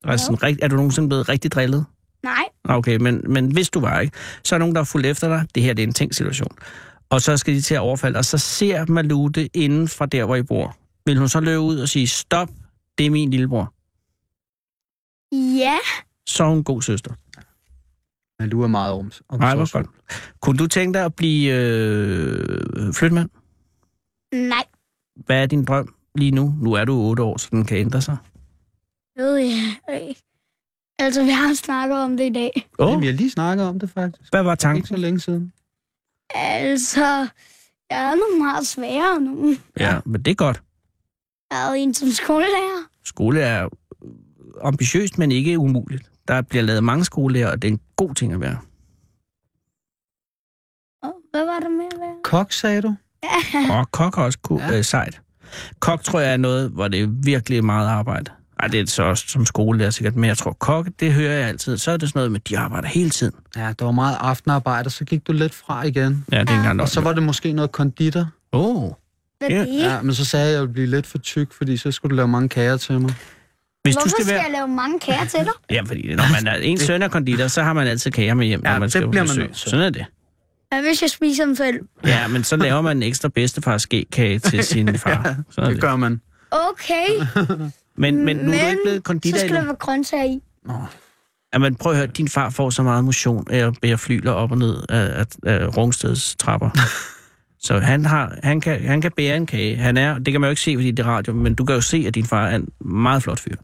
E: Altså,
G: Jo.
E: sådan rigt- er du nogensinde blevet rigtig drillet?
G: Nej,
E: Okay, men, men hvis du var, ikke? Så er der nogen, der har fulgt efter dig. Det her det er en tænkt situation. Og så skal de til at overfalde, og så ser Malou det inden fra der, hvor I bor. Vil hun så løbe ud og sige, stop, det er min lillebror.
G: ja.
E: Så er hun en god søster.
B: Men du er meget om. om
E: Nej, hvor godt. Kunne du tænke dig at blive øh, flytmand?
G: Nej,
E: Hvad er din drøm lige nu? Nu er du 8 år, så den kan ændre sig.
G: ved jeg ikke. Altså, vi har snakket om det i dag.
E: Åh,
B: Jamen,
E: oh,
B: vi har lige snakket om det faktisk.
E: hvad var
B: Ikke så
E: tanken?
B: længe siden.
G: Altså, jeg er nogle meget svære nu.
E: Ja, men det er godt.
G: Jeg er jo en som skolelærer.
E: Skole er øh, ambitiøst, men ikke umuligt. Der bliver lavet mange skolelærer, og det er en god ting at være.
G: Og hvad var der med at være?
B: Kok, sagde du?
E: Og kok er også ku- ja.
B: Ja.
E: øh, sejt. Kok tror jeg er noget, hvor det er virkelig meget arbejde. Ej, det er så også som skolelærer sikkert, men jeg tror kokke, det hører jeg altid. Så er det sådan noget med, de arbejder hele tiden.
B: Ja, der var meget aftenarbejde, og så gik du lidt fra igen.
E: Ja, det er ikke engang
B: Og så var det måske noget konditor.
E: Åh. Oh.
G: Hvad
E: Ja.
G: er det?
B: Ja, men så sagde jeg, at jeg ville blive lidt for tyk, fordi så skulle du lave mange kager til mig.
E: Hvis
G: Hvorfor
E: du skal være...
G: jeg lave mange kager til dig?
E: Ja, fordi når man er en søn er konditor, så har man altid kager med hjem,
B: Ja,
E: når man
B: det
E: skal på
B: bliver man
E: besøg.
B: nødt til.
E: Sådan er det.
G: Hvad hvis jeg spiser dem selv?
E: Ja, men så laver man en ekstra bedstefars skekage til sin far. ja, Sådan er
B: Det
E: det.
B: gør man.
G: Okay,
E: Men, men nu er du ikke blevet
G: så
E: konditor
G: skal der
E: endnu.
G: være grøntsager i.
E: Ja, men prøv at høre, din far får så meget motion af at bære flyler op og ned af, af, af Rungsteds trapper. så han, har, han, kan, han kan bære en kage. Han er, det kan man jo ikke se, fordi det er radio, men du kan jo se, at din far er en meget flot fyr.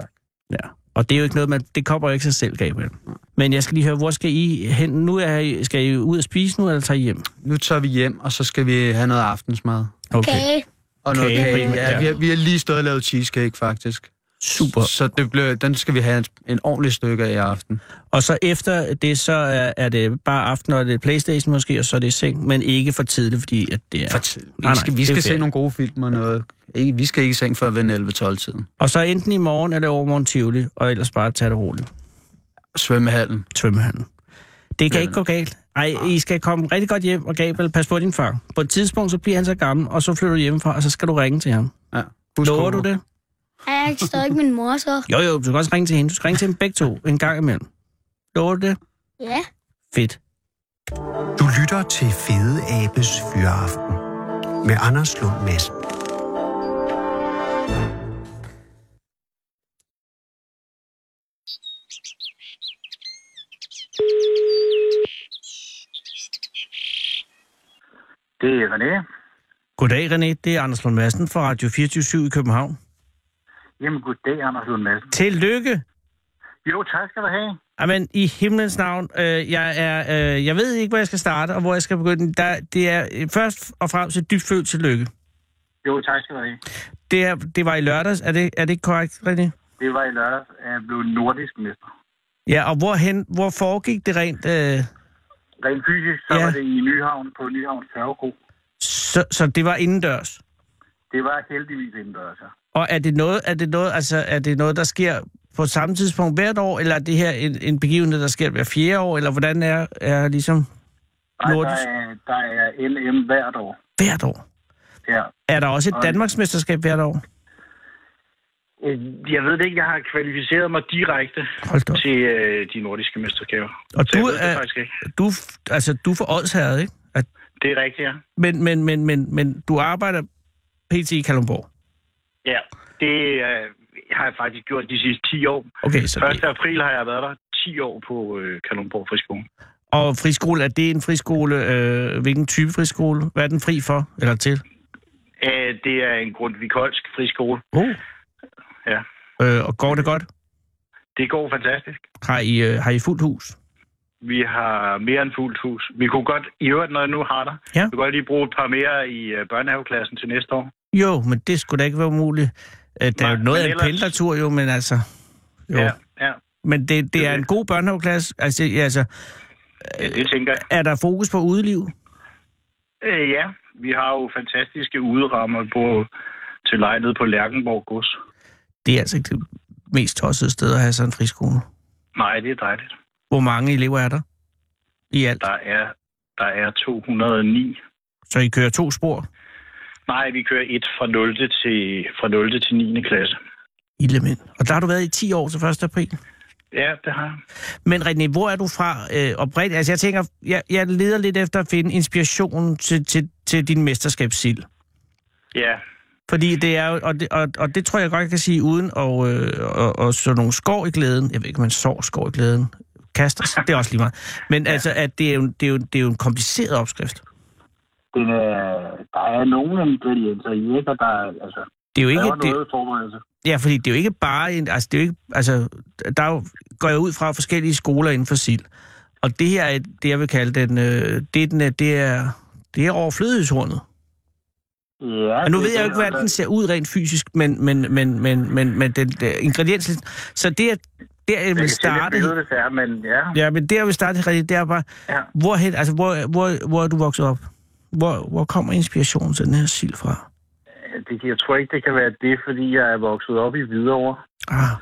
B: tak.
E: Ja. Og det er jo ikke noget, man, det kommer jo ikke sig selv, Gabriel. Men jeg skal lige høre, hvor skal I hen? Nu er I, skal I ud og spise nu, eller tager I hjem?
B: Nu tager vi hjem, og så skal vi have noget aftensmad.
G: Kage.
B: Og noget
E: Kage,
B: kage.
E: primært, ja.
B: Ja, vi, har, vi har lige stået og lavet cheesecake, faktisk.
E: Super.
B: Så det blev, den skal vi have en, en ordentlig stykke af i aften.
E: Og så efter det, så er, er det bare aften, og det er Playstation måske, og så er det i seng, men ikke for tidligt, fordi at det er...
B: Vi
E: Nej, nej,
B: skal,
E: det er
B: vi skal se
E: ferie.
B: nogle gode film og noget. Ikke, vi skal ikke i seng før ved 11-12-tiden.
E: Og så enten i morgen eller overmorgen Tivoli, og ellers bare tage det roligt.
B: Svømmehallen.
E: Svømmehallen. Det kan
B: Ja.
E: ikke gå galt. Ej, I skal komme rigtig godt hjem, og Gabriel, pas på din far. På et tidspunkt, så bliver han så gammel, og så flytter du hjemmefra, og så skal du ringe til ham.
B: Ja.
E: Lover du det?
G: Er jeg ikke stadig min mor så?
E: Jo, jo, du skal også ringe til hende. Du skal ringe til dem begge to en gang imellem. Lover du det?
G: Ja.
E: Fedt.
F: Du lytter til Fede Abes Fyraften med Anders Lund Madsen.
H: Det er René.
E: Goddag, René. Det er Anders Lund Madsen fra Radio 24 i København.
H: Jamen, goddag, Anders Lund Madsen.
E: Tillykke.
H: Jo, tak skal du have.
E: Jamen, i himlens navn, øh, jeg, er, øh, jeg ved ikke, hvor jeg skal starte og hvor jeg skal begynde. Der, det er øh, først og fremmest et dybt følt tillykke.
H: Jo, tak skal du have.
E: Det, er, det var i lørdags, er det, er det ikke korrekt, René?
H: Det var i lørdags, at jeg blev nordisk mester.
E: Ja, og hvorhen, hvor foregik det rent? Øh,
H: Rent fysisk, så
E: Ja.
H: ja. var det i Nyhavn på Nyhavns Tørvekro.
E: så, så det var indendørs.
H: Det var heldigvis indendørs. ja.
E: Og er det noget, er det noget, altså, er det noget der sker på samme tidspunkt hvert år, eller er det her en, en begivenhed, der sker hver fjerde år, eller hvordan er, er ligesom
H: Nej, der
E: Nordisk?
H: er, der er NM hvert år.
E: hvert år?
H: Ja.
E: Er der også et
H: Og-
E: Danmarksmesterskab hvert år?
H: Øh, Jeg ved det ikke, jeg har kvalificeret mig direkte
E: Hold da op.
H: til øh, de nordiske mesterskaber.
E: Og
H: Så jeg
E: du
H: ved det
E: er-
H: faktisk ikke.
E: Du, er f- altså, du er for Odsherred, ikke? At,
H: Det er rigtigt, ja.
E: men, men, men, men, men du arbejder pt. i Kalundborg.
H: Ja, det øh, har jeg faktisk gjort de sidste 10 år.
E: Okay, så
H: 1.
E: det.
H: april har jeg været der 10 år på øh, Kalundborg Friskole.
E: Og friskole, er det en friskole? Øh, hvilken type friskole? Hvad er den fri for eller til?
H: Øh, Det er en grundvikolsk friskole.
E: Oh.
H: Ja.
E: Øh, og går det godt?
H: Det går fantastisk.
E: Har I, øh, har I fuldt hus?
H: Vi har mere end fuldt hus. Vi kunne godt, i øvrigt, når jeg nu har dig,
E: Ja.
H: vi kunne godt lige bruge et par mere i øh, børnehaveklassen til næste år.
E: Jo, men det skulle da ikke være umuligt. Øh, der er
H: Nej,
E: jo noget
H: men
E: af en
H: ellers-
E: pendlertur, jo, men altså... Jo.
H: Ja, ja.
E: Men det, det
H: Det
E: er
H: er
E: en
H: det.
E: god børnehaveklasse. Altså, ja, altså,
H: ja det tænker jeg.
E: er der fokus på udeliv?
H: Øh, ja, vi har jo fantastiske uderammer på, til lejlighed på Lærkenborg Gods.
E: Det er altså ikke det mest tossede sted at have sådan en friskole.
H: Nej, det er dejligt.
E: Hvor mange elever er der i alt?
H: Der er, der er 209.
E: Så I kører to spor?
H: Nej, vi kører et fra 0. til, fra 0. til 9. klasse.
E: Ildemænd. Og der har du været i 10 år til 1. april.
H: Ja, det har jeg.
E: Men René, hvor er du fra øh, oprindeligt? Altså jeg tænker, jeg, jeg leder lidt efter at finde inspirationen til, til, til din mesterskabssild.
H: Ja,
E: Fordi det er jo, og det, og, og det tror jeg godt, jeg kan sige, uden at, øh, og, og så nogle skår i glæden. Jeg ved ikke, om man sår skår i glæden. Kaster sig, det er også lige meget. Men ja. altså, at det er, jo, det, er jo, det er jo en kompliceret opskrift.
H: den er, der er nogle ingredienser i, ikke? Og der er, altså,
E: Det er jo
H: der
E: ikke,
H: er
E: det,
H: noget forberedelse.
E: ja, fordi det er jo ikke bare en, altså, det er jo ikke, altså, der er jo, går jeg ud fra forskellige skoler inden for sild. Og det her er et- det, jeg vil kalde den, øh, det, er den er- det er, det er overflødighedshornet.
H: Ja,
E: Og nu
H: det-
E: ved jeg jo ikke, hvordan den ser ud rent fysisk, men, men, men, men, men, men den der ingrediensliste. Så det er der, jeg
H: Jeg
E: vil
H: kan stille et
E: starte.
H: billede, hvis det er, men ja.
E: Ja, men der, jeg vil starte, Rikke, det er bare,
H: Ja.
E: hvorhen, altså, hvor, hvor, hvor er du vokset op? Hvor, hvor kommer inspirationen til den her sild fra?
H: det, jeg tror ikke, det kan være det, fordi jeg er vokset op i Hvidovre.
E: Ah.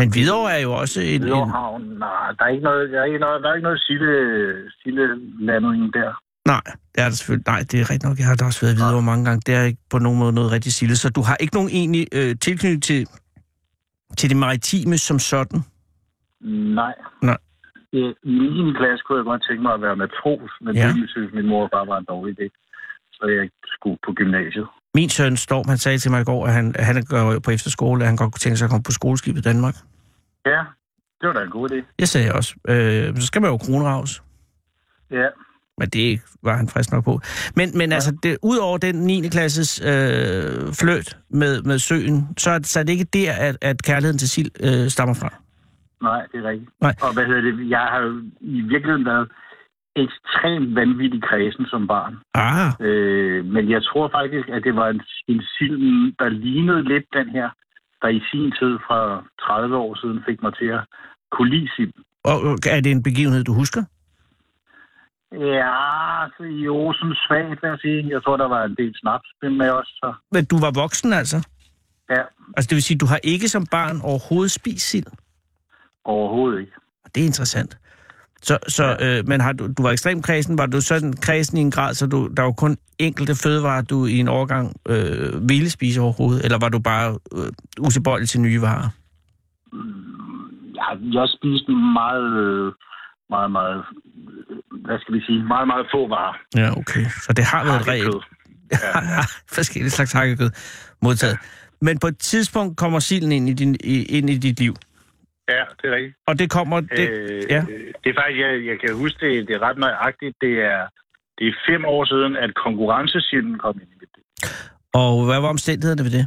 E: Men Hvidovre er jo også en...
H: Hvidovre
E: en
H: Havn, nej, der er ikke noget, der er ikke noget, der er ikke noget silde, sildelanding der.
E: nej, det er der selvfølgelig... Nej, det er rigtigt nok. Jeg har da også været i Hvidovre mange gange. Det er ikke på nogen måde noget rigtig silde. Så du har ikke nogen egentlig øh, tilknytning til, til det maritime som sådan?
H: Nej.
E: Nej.
H: Øh, I 9. klasse kunne jeg godt tænke mig at være matros, men
E: Ja.
H: ja. det synes min mor og far var en dårlig idé. Så jeg skulle på gymnasiet.
E: Min søn Storm, han sagde til mig i går, at han, at han går jo på efterskole, at han godt kunne tænke sig at komme på skoleskibet i Danmark.
H: Ja, det var da en god idé.
E: Jeg sagde også, øh, men så skal man jo kronravs.
H: Ja.
E: Men det var han frisk nok på. Men, men ja. altså, det, ud over den 9. klasses øh, fløt med, med søen, så er, det, så er det ikke der, at, at kærligheden til sild øh, stammer fra.
H: Nej, det er rigtigt.
E: Nej.
H: Og hvad hedder det? Jeg har jo i virkeligheden været ekstremt vanvittig kredsen som barn.
E: Ah,
H: Øh, men jeg tror faktisk, at det var en, en film, der lignede lidt den her, der i sin tid fra 30 år siden fik mig til at kunne lide sild.
E: og og er det en begivenhed, du husker?
H: Ja, altså, så jo, sådan svagt, vil jeg sige. Jeg tror, der var en del snaps med os, så
E: Men du var voksen altså?
H: ja,
E: Altså, det vil sige, du har ikke som barn overhovedet spist sild?
H: overhovedet ikke.
E: Det er interessant. Så, så øh, men har du, du var ekstrem kredsen, var du sådan kredsen i en grad, så du, der var kun enkelte fødevarer, du i en overgang øh, ville spise overhovedet, eller var du bare øh, usebøjelig til nye varer?
H: Jeg, jeg spiste meget, øh, meget, meget, øh, hvad skal vi sige, meget, meget få varer.
E: Ja, okay. Så det har været et regel.
H: Hakkekød.
E: Forskellige slags hakkekød modtaget. Men på et tidspunkt kommer silden ind i, din, i, ind i dit liv,
H: Ja, det er rigtigt.
E: og det kommer... Det,
H: øh,
E: ja.
H: det er faktisk, jeg, jeg kan huske det, det er ret nøjagtigt. Det er, det er fem år siden, at konkurrencesilden kom ind i mit liv.
E: Og hvad var omstændighederne ved det?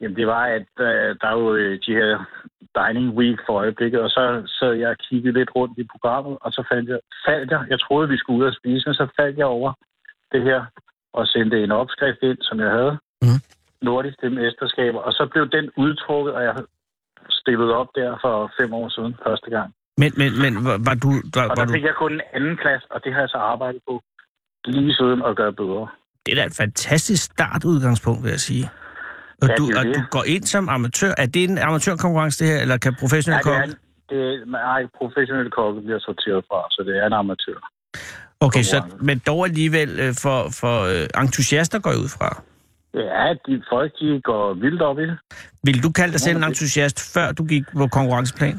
H: Jamen, det var, at øh, der er jo øh, de her dining week for øjeblikket, og så sad jeg og kiggede lidt rundt i programmet, og så faldt jeg, faldt jeg, jeg troede, vi skulle ud og spise, men så faldt jeg over det her og sendte en opskrift ind, som jeg havde.
E: Mhm.
H: Nordiske mesterskaber, og så blev den udtrukket, og jeg stillede op der for fem år siden første gang.
E: Men, men, men var, var du... Var,
H: Og
E: var
H: der
E: du
H: fik jeg kun en anden plads, og det har jeg så arbejdet på lige siden at gøre bedre.
E: det er da et fantastisk startudgangspunkt, vil jeg sige. Og,
H: Ja,
E: du,
H: det er
E: og
H: det.
E: du går ind som amatør. Er det en amatørkonkurrence, det her, eller kan
H: Nej,
E: professionelle
H: det er,
E: komme?
H: det, nej, professionelle kokke bliver sorteret fra, så det er en amatør.
E: Okay, så,
H: konkurrence.
E: men dog alligevel øh, for, for øh, entusiaster går jeg ud fra.
H: Ja, de folk, de går vildt op i det.
E: Vil du kalde dig selv en
H: Hvorfor det?
E: entusiast, før du gik på konkurrenceplan?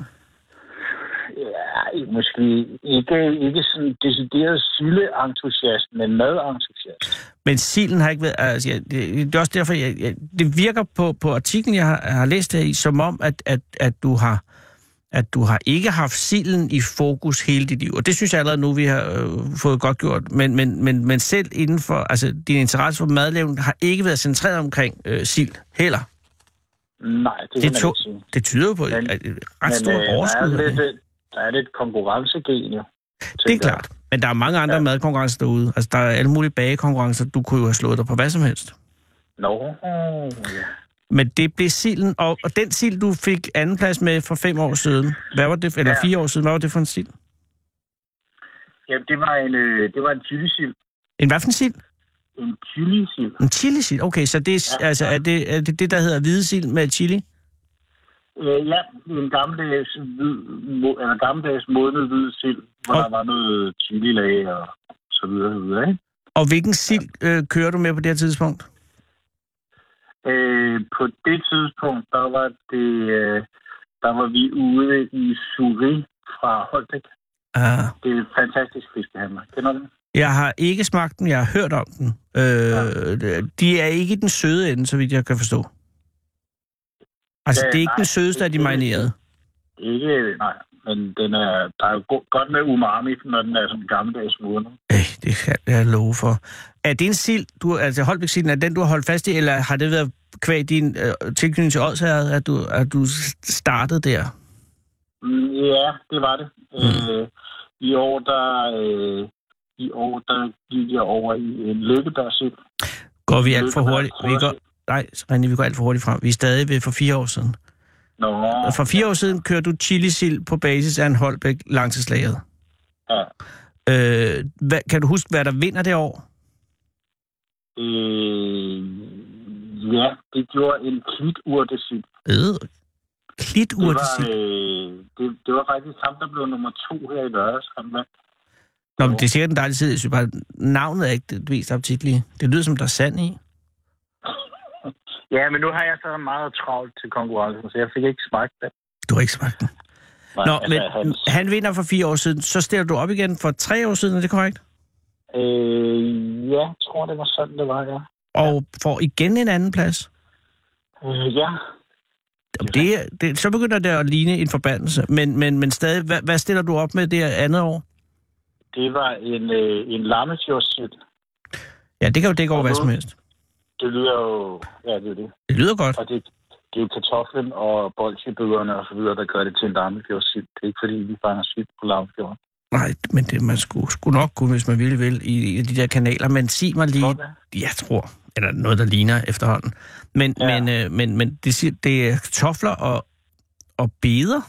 H: Ja, måske ikke, ikke sådan decideret sylle-entusiast, men mad-entusiast.
E: Men silen har ikke været... Altså, jeg, det, det er også derfor, jeg, jeg, det virker på, på artiklen, jeg har, har læst her i, som om, at, at, at du har at du har ikke haft silen i fokus hele dit liv. Og det synes jeg allerede nu, vi har øh, fået godt gjort. Men, men, men, men selv inden for... Altså, din interesse for madlavning har ikke været centreret omkring øh, sild heller.
H: Nej, det, kan
E: Det,
H: man
E: to,
H: ikke sige.
E: det tyder jo på
H: Men-
E: et, et et ret stort
H: øh,
E: overskud.
H: Der
E: af
H: er lidt,
E: det.
H: øh, der er lidt konkurrencegen, jo.
E: Det er
H: tænker jeg.
E: klart. Men der er mange andre ja. madkonkurrencer derude. Altså, der er alle mulige bagekonkurrencer. Du kunne jo have slået dig på hvad som helst.
H: Nå, ja.
E: Men det blev silden, og, og den sild, du fik andenplads med for fem år siden, hvad var det, eller
H: Ja.
E: fire år siden, hvad var det for en sild?
H: Jamen, det var en, øh, det var en chili-sild.
E: En hvad for en sild?
H: En chili-sild.
E: En chili-sild? Okay, så det, er,
H: Ja,
E: altså,
H: ja.
E: er, det, er det det, der hedder hvide sild med chili?
H: Øh, ja, en gammeldags, hvid, mo- eller gammeldags modnet hvid sild, hvor
E: Og-
H: der var noget chili lag og så videre, så videre, ikke?
E: Og hvilken sild øh, kører du med på det her tidspunkt?
H: Øh, på det tidspunkt, der var det, øh, der var vi ude i Suri fra Holbæk.
E: Uh,
H: Det er en fantastisk fiskehandler. Kender du den?
E: jeg har ikke smagt den, jeg har hørt om den. Øh, De er ikke i den søde ende, så vidt jeg kan forstå. Altså,
H: Ja,
E: det er ikke
H: Øh, nej,
E: den sødeste af
H: det-
E: de
H: det-
E: marinerede.
H: Ikke, nej, men den er, der er jo go- godt med umami, når den er sådan gammeldags modnet.
E: Øh, det kan jeg love for. Er det en sild, du, altså Holbæk-silden, er den, du har holdt fast i, eller har det været kvæg din øh, tilknytning til Ådsherred, at du, at du startede der?
H: Mm, Ja, det var det. Øh, I år, der... Øh, i år, der gik jeg over i en lykkebærsild.
E: Går vi alt for hurtigt? Vi går, nej, René, vi går alt for hurtigt frem. Vi er stadig ved for fire år siden.
H: Nå,
E: For fire år siden kører du chili-sild på basis af en Holbæk langtidslagret.
H: ja.
E: Øh, hvad, kan du huske, hvad der vinder det år?
H: Øh, Ja, det gjorde en klituredesyg.
E: Øh. Klit
H: Det var,
E: urtesil.
H: øh, det, det var faktisk ham, der blev nummer to her i lørdags. Han vandt.
E: Nå, men det er sikkert en dejlig tid. Jeg synes bare, navnet er ikke det mest appetitlige. Det lyder som, der er sand i.
H: Ja, men nu har jeg så meget travlt til konkurrencen, så jeg fik ikke smagt det.
E: Du har ikke smagt den.
H: Nej,
E: Nå,
H: altså,
E: men
H: hans-
E: han vinder for fire år siden. Så stiller du op igen for tre år siden, er det korrekt?
H: Øh, ja, jeg tror, det var sådan, det var, ja.
E: Og får igen en anden plads.
H: Øh, ja,
E: Jamen, Det, er- det, så begynder det at ligne en forbandelse. Men, men, men stadig, hvad, hvad stiller du op med det andet år?
H: det var en, øh, en lammefjordsyl.
E: Ja, det kan jo dække over hvad som helst.
H: Det lyder jo... Ja, det er det.
E: Det lyder godt.
H: Og det, det er jo kartoflen og bolsjebøderne og så videre, der gør det til en lammefjordsyl. Det er ikke, fordi vi fanger syl på lammefjorden.
E: Nej, men det, man skulle, skulle nok kunne, hvis man ville vil, i, i de der kanaler. Men sig mig lige, jeg tror, eller noget, der ligner efterhånden. Men, ja.
H: Ja.
E: men, øh, men, men det, siger, det er kartofler og, og beder.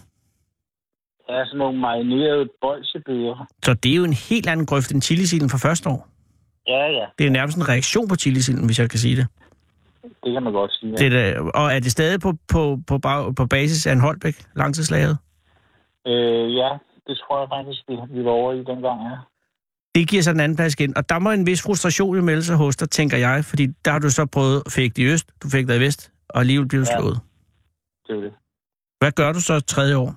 H: Ja, sådan nogle marinerede bolsjebøder.
E: Så det er jo en helt anden grøft end chilisilden fra første år.
H: Ja, ja,
E: Det er nærmest en reaktion på chilisilden, hvis jeg kan sige det.
H: det kan man godt sige.
E: Ja.
H: Ja.
E: det er, da- og er det stadig på, på, på, bag, på basis af en Holbæk, langtidslagret?
H: Øh, ja, det tror jeg faktisk, vi, vi var over i dengang, ja.
E: Det giver sig en anden plads igen, og der må en vis frustration jo melde sig hos dig, tænker jeg, fordi der har du så prøvet at fægte i øst, du fik dig i vest, og alligevel bliver du
H: Ja.
E: slået.
H: Det er jo det.
E: Hvad gør du så tredje år?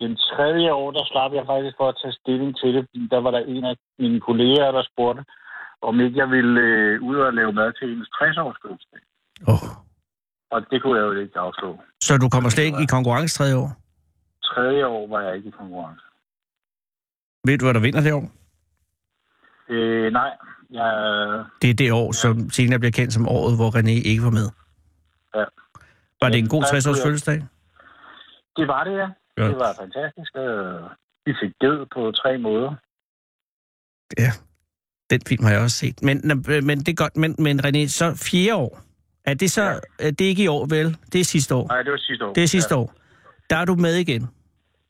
H: Den tredje år, der slap jeg faktisk for at tage stilling til det. fordi Der var der en af mine kolleger, der spurgte, om ikke jeg ville øh, ud og lave mad til hendes 60-års fødselsdag.
E: Oh.
H: Og det kunne jeg jo ikke afslå.
E: Så du kommer slet ikke i konkurrence tredje år?
H: Tredje år var jeg ikke i konkurrence.
E: Ved du, hvad der vinder det år?
H: Øh, nej, jeg,
E: Det er det år, som senere bliver kendt som året, hvor René ikke var med.
H: Ja.
E: Var det en god
H: Ja, der
E: 60-års
H: kunne jeg-
E: fødselsdag?
H: det var det, ja.
E: Ja.
H: Det var fantastisk. øh, Vi fik død på tre måder.
E: Den film har jeg også set. Men, nå, men det er godt. Men, men René, så fjerde år. Er det så...
H: Ja.
E: Er det ikke i år, vel? Det er sidste år.
H: Nej, det var sidste år.
E: Det er sidste år. Der er du med igen.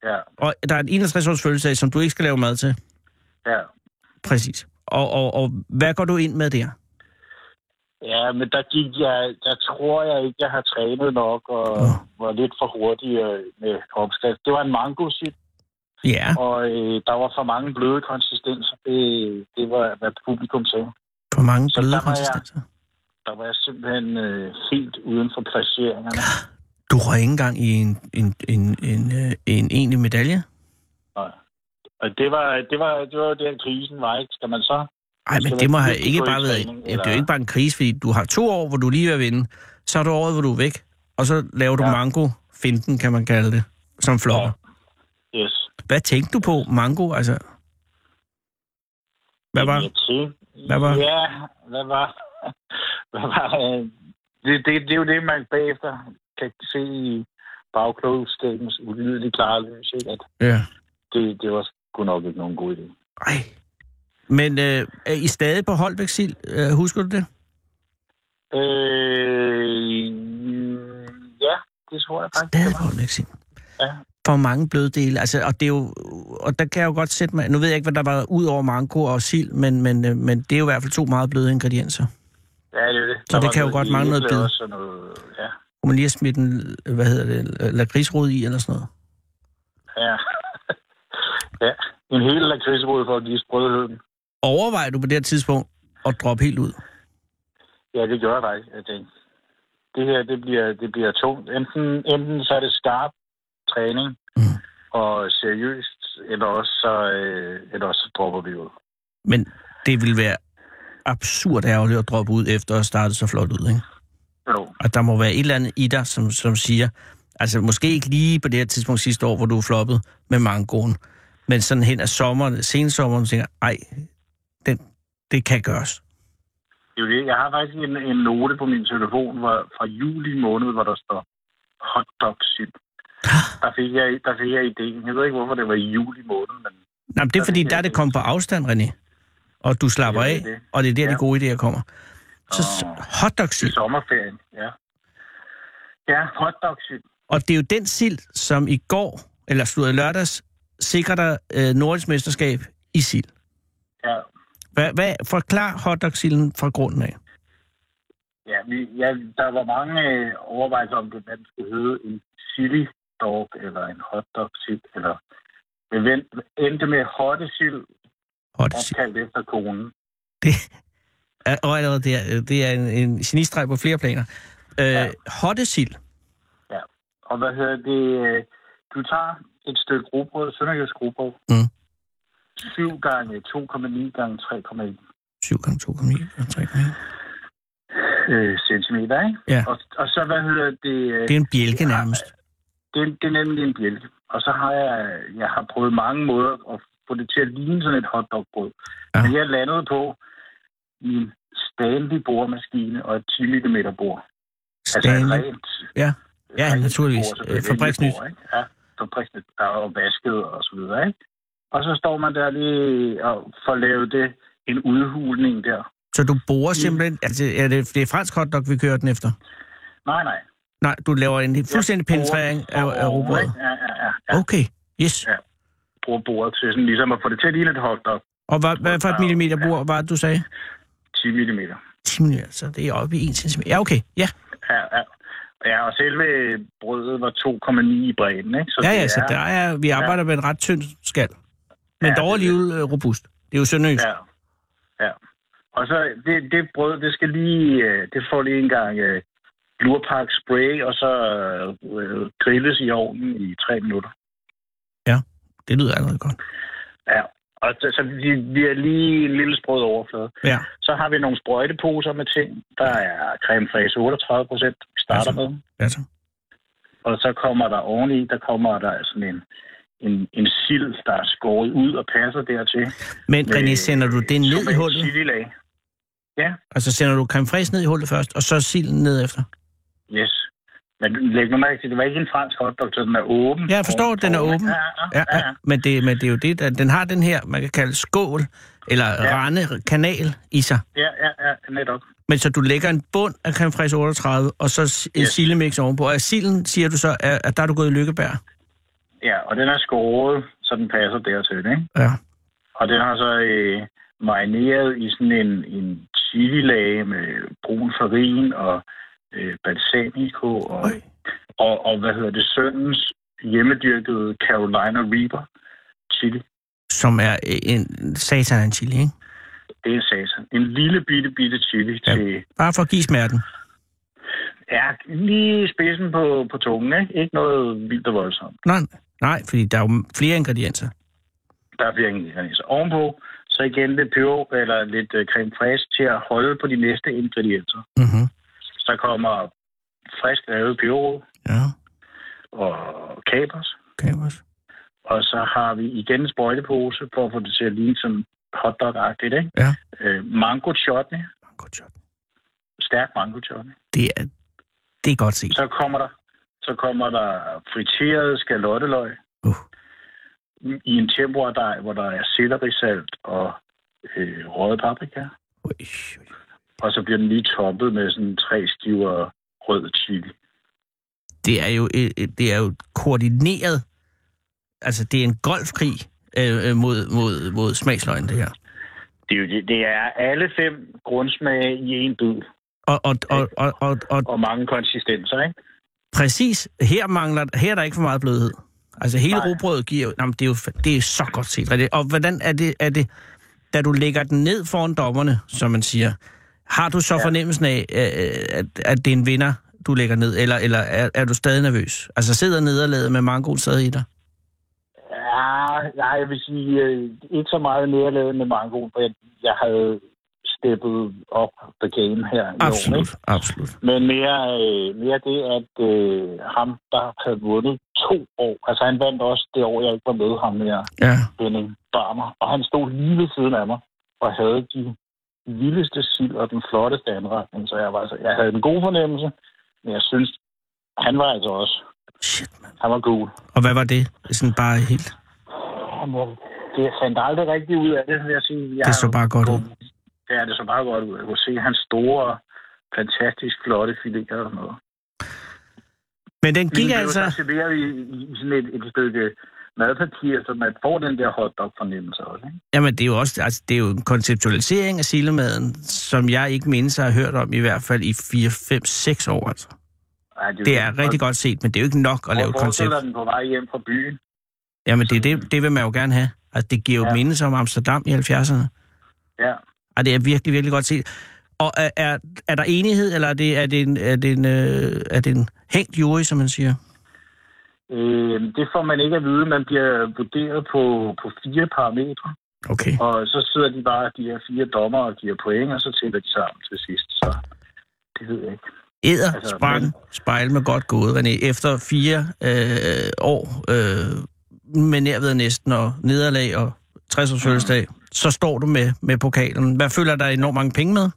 H: Ja,
E: Og der er en 61-års fødselsdag, som du ikke skal lave mad til.
H: ja.
E: Præcis. Og, og, og hvad går du ind med der?
H: Ja, men der gik jeg, der tror jeg ikke, jeg har trænet nok og
E: Nå.
H: var lidt for hurtig øh, med opskrift. Det var en mango
E: Ja,
H: og øh, der var for mange bløde konsistenser. Det, det var, hvad publikum sagde.
E: for mange
H: Så der
E: bløde
H: var jeg-
E: konsistenser.
H: Der var jeg simpelthen øh, helt uden for placeringerne.
E: Du røg ikke engang i en, en, en, en, øh, en egentlig medalje?
H: Og, og det var, det var, det var jo der, krisen var, ikke? Skal man så?
E: Nej, men
H: Så
E: det må
H: man
E: have
H: virkelig
E: ikke
H: gå i
E: bare været... Jamen,
H: træning,
E: det er jo
H: eller-
E: ikke bare en krise, fordi du har to år, hvor du er lige er ved at vinde. Så er du året, hvor du er væk. Og så laver du ja.
H: Ja.
E: mango. Finten, kan man kalde det. Som flopper.
H: Yes.
E: Hvad tænkte du på? Mango, altså... Hvad var...
H: Jeg tænkte,
E: Hvad var-
H: Ja, hvad var... hvad var øh, det, det, det, er jo det, man bagefter kan se i bagklogskabens ulydelige klare lys, ikke? At
E: Ja.
H: det, det var sgu nok ikke nogen god idé.
E: Ej. Men øh, er I stadig på Holbæk Sild? Øh, husker du det?
H: Øh, ja, det tror jeg faktisk.
E: Stadig
H: det
E: på
H: var.
E: Holbæk Sild.
H: Ja.
E: For mange bløde dele. Altså, og, det er jo, og der kan jeg jo godt sætte mig... Nu ved jeg ikke, hvad der var ud over mango og sild, men, men, øh, men det er jo i hvert fald to meget bløde ingredienser.
H: Ja, det er det.
E: Så det kan jo godt mangle noget bid.
H: bid. Noget, ja,
E: Hvor man lige har smidt en, hvad hedder det, øh, lakridsrod i eller sådan noget.
H: ja. ja, en hel lakridsrod for at give sprødheden.
E: Overvejer du på det her tidspunkt at droppe helt ud?
H: Ja, det gjorde jeg faktisk. Jeg tænkte, det her, det bliver, det bliver tungt. Enten, enten så er det skarp træning
E: Mm.
H: mm. og seriøst, eller også, så, øh, eller også så dropper vi ud.
E: Men det ville være absurd ærgerligt at droppe ud efter at starte så flot ud, ikke?
H: Jo,
E: Og der må være et eller andet i dig, som, som siger, altså måske ikke lige på det her tidspunkt sidste år, hvor du floppede med mangoen, men sådan hen ad sommeren, sensommeren, tænker, ej, den, det kan gøres.
H: det er jo det. Jeg har faktisk en, en note på min telefon hvor, fra juli måned, hvor der står hotdog sip. Der fik, jeg, der fik jeg ideen. Jeg ved ikke, hvorfor det var i juli måned, men
E: Nej, men det er fordi, der er det kommet på afstand, René, og du slapper
H: Ja, det
E: af,
H: er det.
E: og det er der,
H: Ja.
E: de gode idéer kommer. Så
H: Åh.
E: oh. hotdog
H: i sommerferien, ja. Ja, hotdog sip.
E: Og det er jo den sild, som i går, eller slutter i lørdags, sikrer dig øh, nordisk mesterskab i sild.
H: Ja,
E: Hvad, hvad, forklar hotdog-silden fra grunden af.
H: Ja, vi, ja, der var mange øh, overvejelser om, det man skulle hedde en chili dog eller en hotdog sild, eller vi vent- endte med hotte sild,
E: Og det,
H: opkaldt efter konen.
E: er- og allerede det er, det er en, en genistreg på flere planer. Øh, ja.
H: Ja.
E: Hottesild.
H: Og hvad hedder det? øh, Du tager et stykke rugbrød, sønderjysk rugbrød,
E: Mm.
H: 7 gange 2,9 gange 3,1
E: 7 gange 2,9 gange 3,9.
H: øh, centimeter, ikke?
E: Ja.
H: Og, og så, hvad hedder det? øh,
E: Det er en bjælke nærmest.
H: det, er- det er nemlig en bjælke. Og så har jeg, jeg har prøvet mange måder at få det til at ligne sådan et hotdogbrød.
E: Ja.
H: Ja. Men jeg landede på min Stanley boremaskine og et 10 mm bord. Altså et
E: Stanley.
H: rent...
E: Ja. Ja,
H: rent
E: naturligvis.
H: bord, selvfølgelig.
E: Øh, fabriksnyt.
H: Et bord, ikke? Ja, fabriksnyt. Der er jo vasket og så videre, ikke? Og så står man der lige og får lavet det, en udhulning der.
E: Så du borer simpelthen... Er det, er det, det er fransk hotdog, vi kører den efter?
H: Nej, nej.
E: Nej, du laver en fuldstændig
H: Jeg
E: penetrering af,
H: borer
E: af robotet. Oh.
H: Ja, ja, ja. ja.
E: Okay, yes.
H: Bruger bordet til sådan ligesom at få det til at ligne et hotdog.
E: Og hvad, hvad for et millimeter bor, var det, du sagde?
H: 10 mm.
E: 10 mm, så det er oppe i 1 cm. Ja, okay. Ja,
H: Ja, ja. ja, og selve brødet var 2,9 i bredden, ikke? Så
E: ja,
H: det
E: ja så
H: er-
E: der er, vi arbejder med en ret tynd skal. Men
H: Ja,
E: dog
H: det-
E: alligevel øh, robust. Det er jo sønderjysk.
H: Ja, ja. Og så det, det brød, det skal lige, øh, det får lige en gang øh, lurpak spray, og så øh, grilles i ovnen i tre minutter.
E: Det lyder allerede godt.
H: Ja, og så, så vi, vi er lige en lille sprød overflade.
E: Ja,
H: Så har vi nogle sprøjteposer med ting. Der er creme fraise 38 procent, vi starter
E: Altså.
H: med.
E: ja så.
H: Og så kommer der oveni, der kommer der altså sådan en, en, en sild, der er skåret ud og passer dertil.
E: Men
H: øh,
E: René, sender du det ned i hullet?
H: Chililag.
E: Altså sender du creme fraise ned i hullet først, og så silden ned efter?
H: Yes. Men læg nu mærke til, det var ikke en fransk hotdog, så den er åben.
E: Ja, jeg forstår, den er åben.
H: Ja,
E: Ja, ja. Men, det, men det er jo det, der, den har den her, man kan kalde skål, eller ja.
H: Ja.
E: rande, kanal i sig.
H: ja, ja, ja, netop.
E: Men så du lægger en bund af creme fraise 38, og så s- en
H: Yes.
E: sillemix ovenpå. Og af silden siger du så, at, at der er du gået i lykkebær.
H: Ja, og den er skåret, så den passer dertil, ikke?
E: Ja.
H: Og den har så øh, marineret i sådan en, en chili-lag med brun farin og øh, balsamico og,
E: Øj.
H: og, og, hvad hedder det, søndens hjemmedyrkede Carolina Reaper chili.
E: Som er en satan af en chili, ikke?
H: Det er satan. En lille bitte, bitte chili
E: Ja.
H: ja. til
E: Bare for at give smerten.
H: Ja, lige spidsen på, på tungen, ikke? Ikke noget vildt og voldsomt.
E: Nej, nej, fordi der er jo flere ingredienser.
H: Der bliver ingen ingredienser. Ovenpå, så igen lidt peber eller lidt øh, creme fraise til at holde på de næste ingredienser.
E: Mm-hmm.
H: Så kommer frisk lavet peber
E: Ja,
H: og kapers.
E: okay, også.
H: Og så har vi igen en sprøjtepose for at få det til at ligne som hotdog-agtigt, ikke?
E: Ja.
H: Øh, mango chutney.
E: Godt job.
H: Stærk mango chutney.
E: Det er, det er godt set.
H: Så kommer der, så kommer der friteret skalotteløg.
E: Uh.
H: i en tempura, hvor der er sellerisalt og øh, røde paprika.
E: Ui, ui.
H: Og så bliver den lige toppet med sådan tre skiver rød chili.
E: Det er jo, øh, øh, det er jo koordineret. Altså, det er en golfkrig øh, øh, mod, mod, mod smagsløgn, det her.
H: Det er, jo, det, det er alle fem grundsmage i en bid,
E: Og, og, og, og, og, og
H: og mange konsistenser, ikke?
E: Præcis. Her mangler her er der ikke for meget blødhed. Altså hele
H: Nej.
E: rugbrødet giver jo- Nå, men det er jo fa- det er så godt set. René. Og hvordan er det, er det, da du lægger den ned foran dommerne, som man siger, har du så ja. fornemmelsen af, øh, at, at det er en vinder, du lægger ned, eller, eller er, er du stadig nervøs? Altså sidder nederlaget med mangoen stadig i dig?
H: Ja, nej, jeg vil sige, øh, ikke så meget nederlaget med mangoen, for jeg, jeg havde steppet op the game her i år, ikke?
E: Absolut, absolut.
H: Men mere, øh, mere det, at øh, ham, der havde vundet to år, altså han vandt også det år, jeg ikke var med ham mere,
E: Ja.
H: Henning Barmer, og han stod lige ved siden af mig og havde de vildeste sild og den flotteste anretning, så jeg, var, altså, jeg havde en god fornemmelse, men jeg synes, han var altså også,
E: Shit, mand.
H: han var god.
E: Og hvad var det? Sådan bare helt...
H: Jamen, Det jeg fandt aldrig rigtig ud af det, vil jeg sige. Jeg
E: Det så bare godt ud.
H: Ja, det så bare godt ud. Jeg kunne se hans store, fantastisk flotte fileter og sådan noget.
E: Men den gik
H: Vi blev
E: altså...
H: så serveret i, i sådan et, et stykke madpapir, så man får den der hotdog-fornemmelse også. Ikke?
E: Jamen, det er jo også altså, det er jo en konceptualisering af sildemaden, som jeg ikke mindes har hørt om i hvert fald i 4, 5, 6 år. Altså.
H: Ej, jo-
E: Det er rigtig godt set, men det er jo ikke nok at lave et
H: Og
E: koncept.
H: forestiller den på vej hjem fra byen.
E: Jamen, det, er det, det vil man jo gerne have. Altså, det giver jo ja.
H: Ja.
E: mindelse om Amsterdam i 70'erne.
H: Ja.
E: Og det er virkelig, virkelig godt set. Og er, er, er der enighed, eller er det, er det, en, er det, en, øh, er det en hængt jury, som man siger?
H: Øh, det får man ikke at vide. Man bliver vurderet på, på fire parametre.
E: Okay.
H: Og så sidder de bare, de her fire dommer, og giver point, og så tæller de sammen til sidst. Så det ved jeg ikke.
E: Æder
H: Altså,
E: sprang
H: men-
E: spejl med godt gået, René. Efter fire øh, år øh, med nærved næsten og nederlag og 60
H: Mm.
E: års fødselsdag, så står du med, med pokalen. Hvad føler der enormt mange penge med?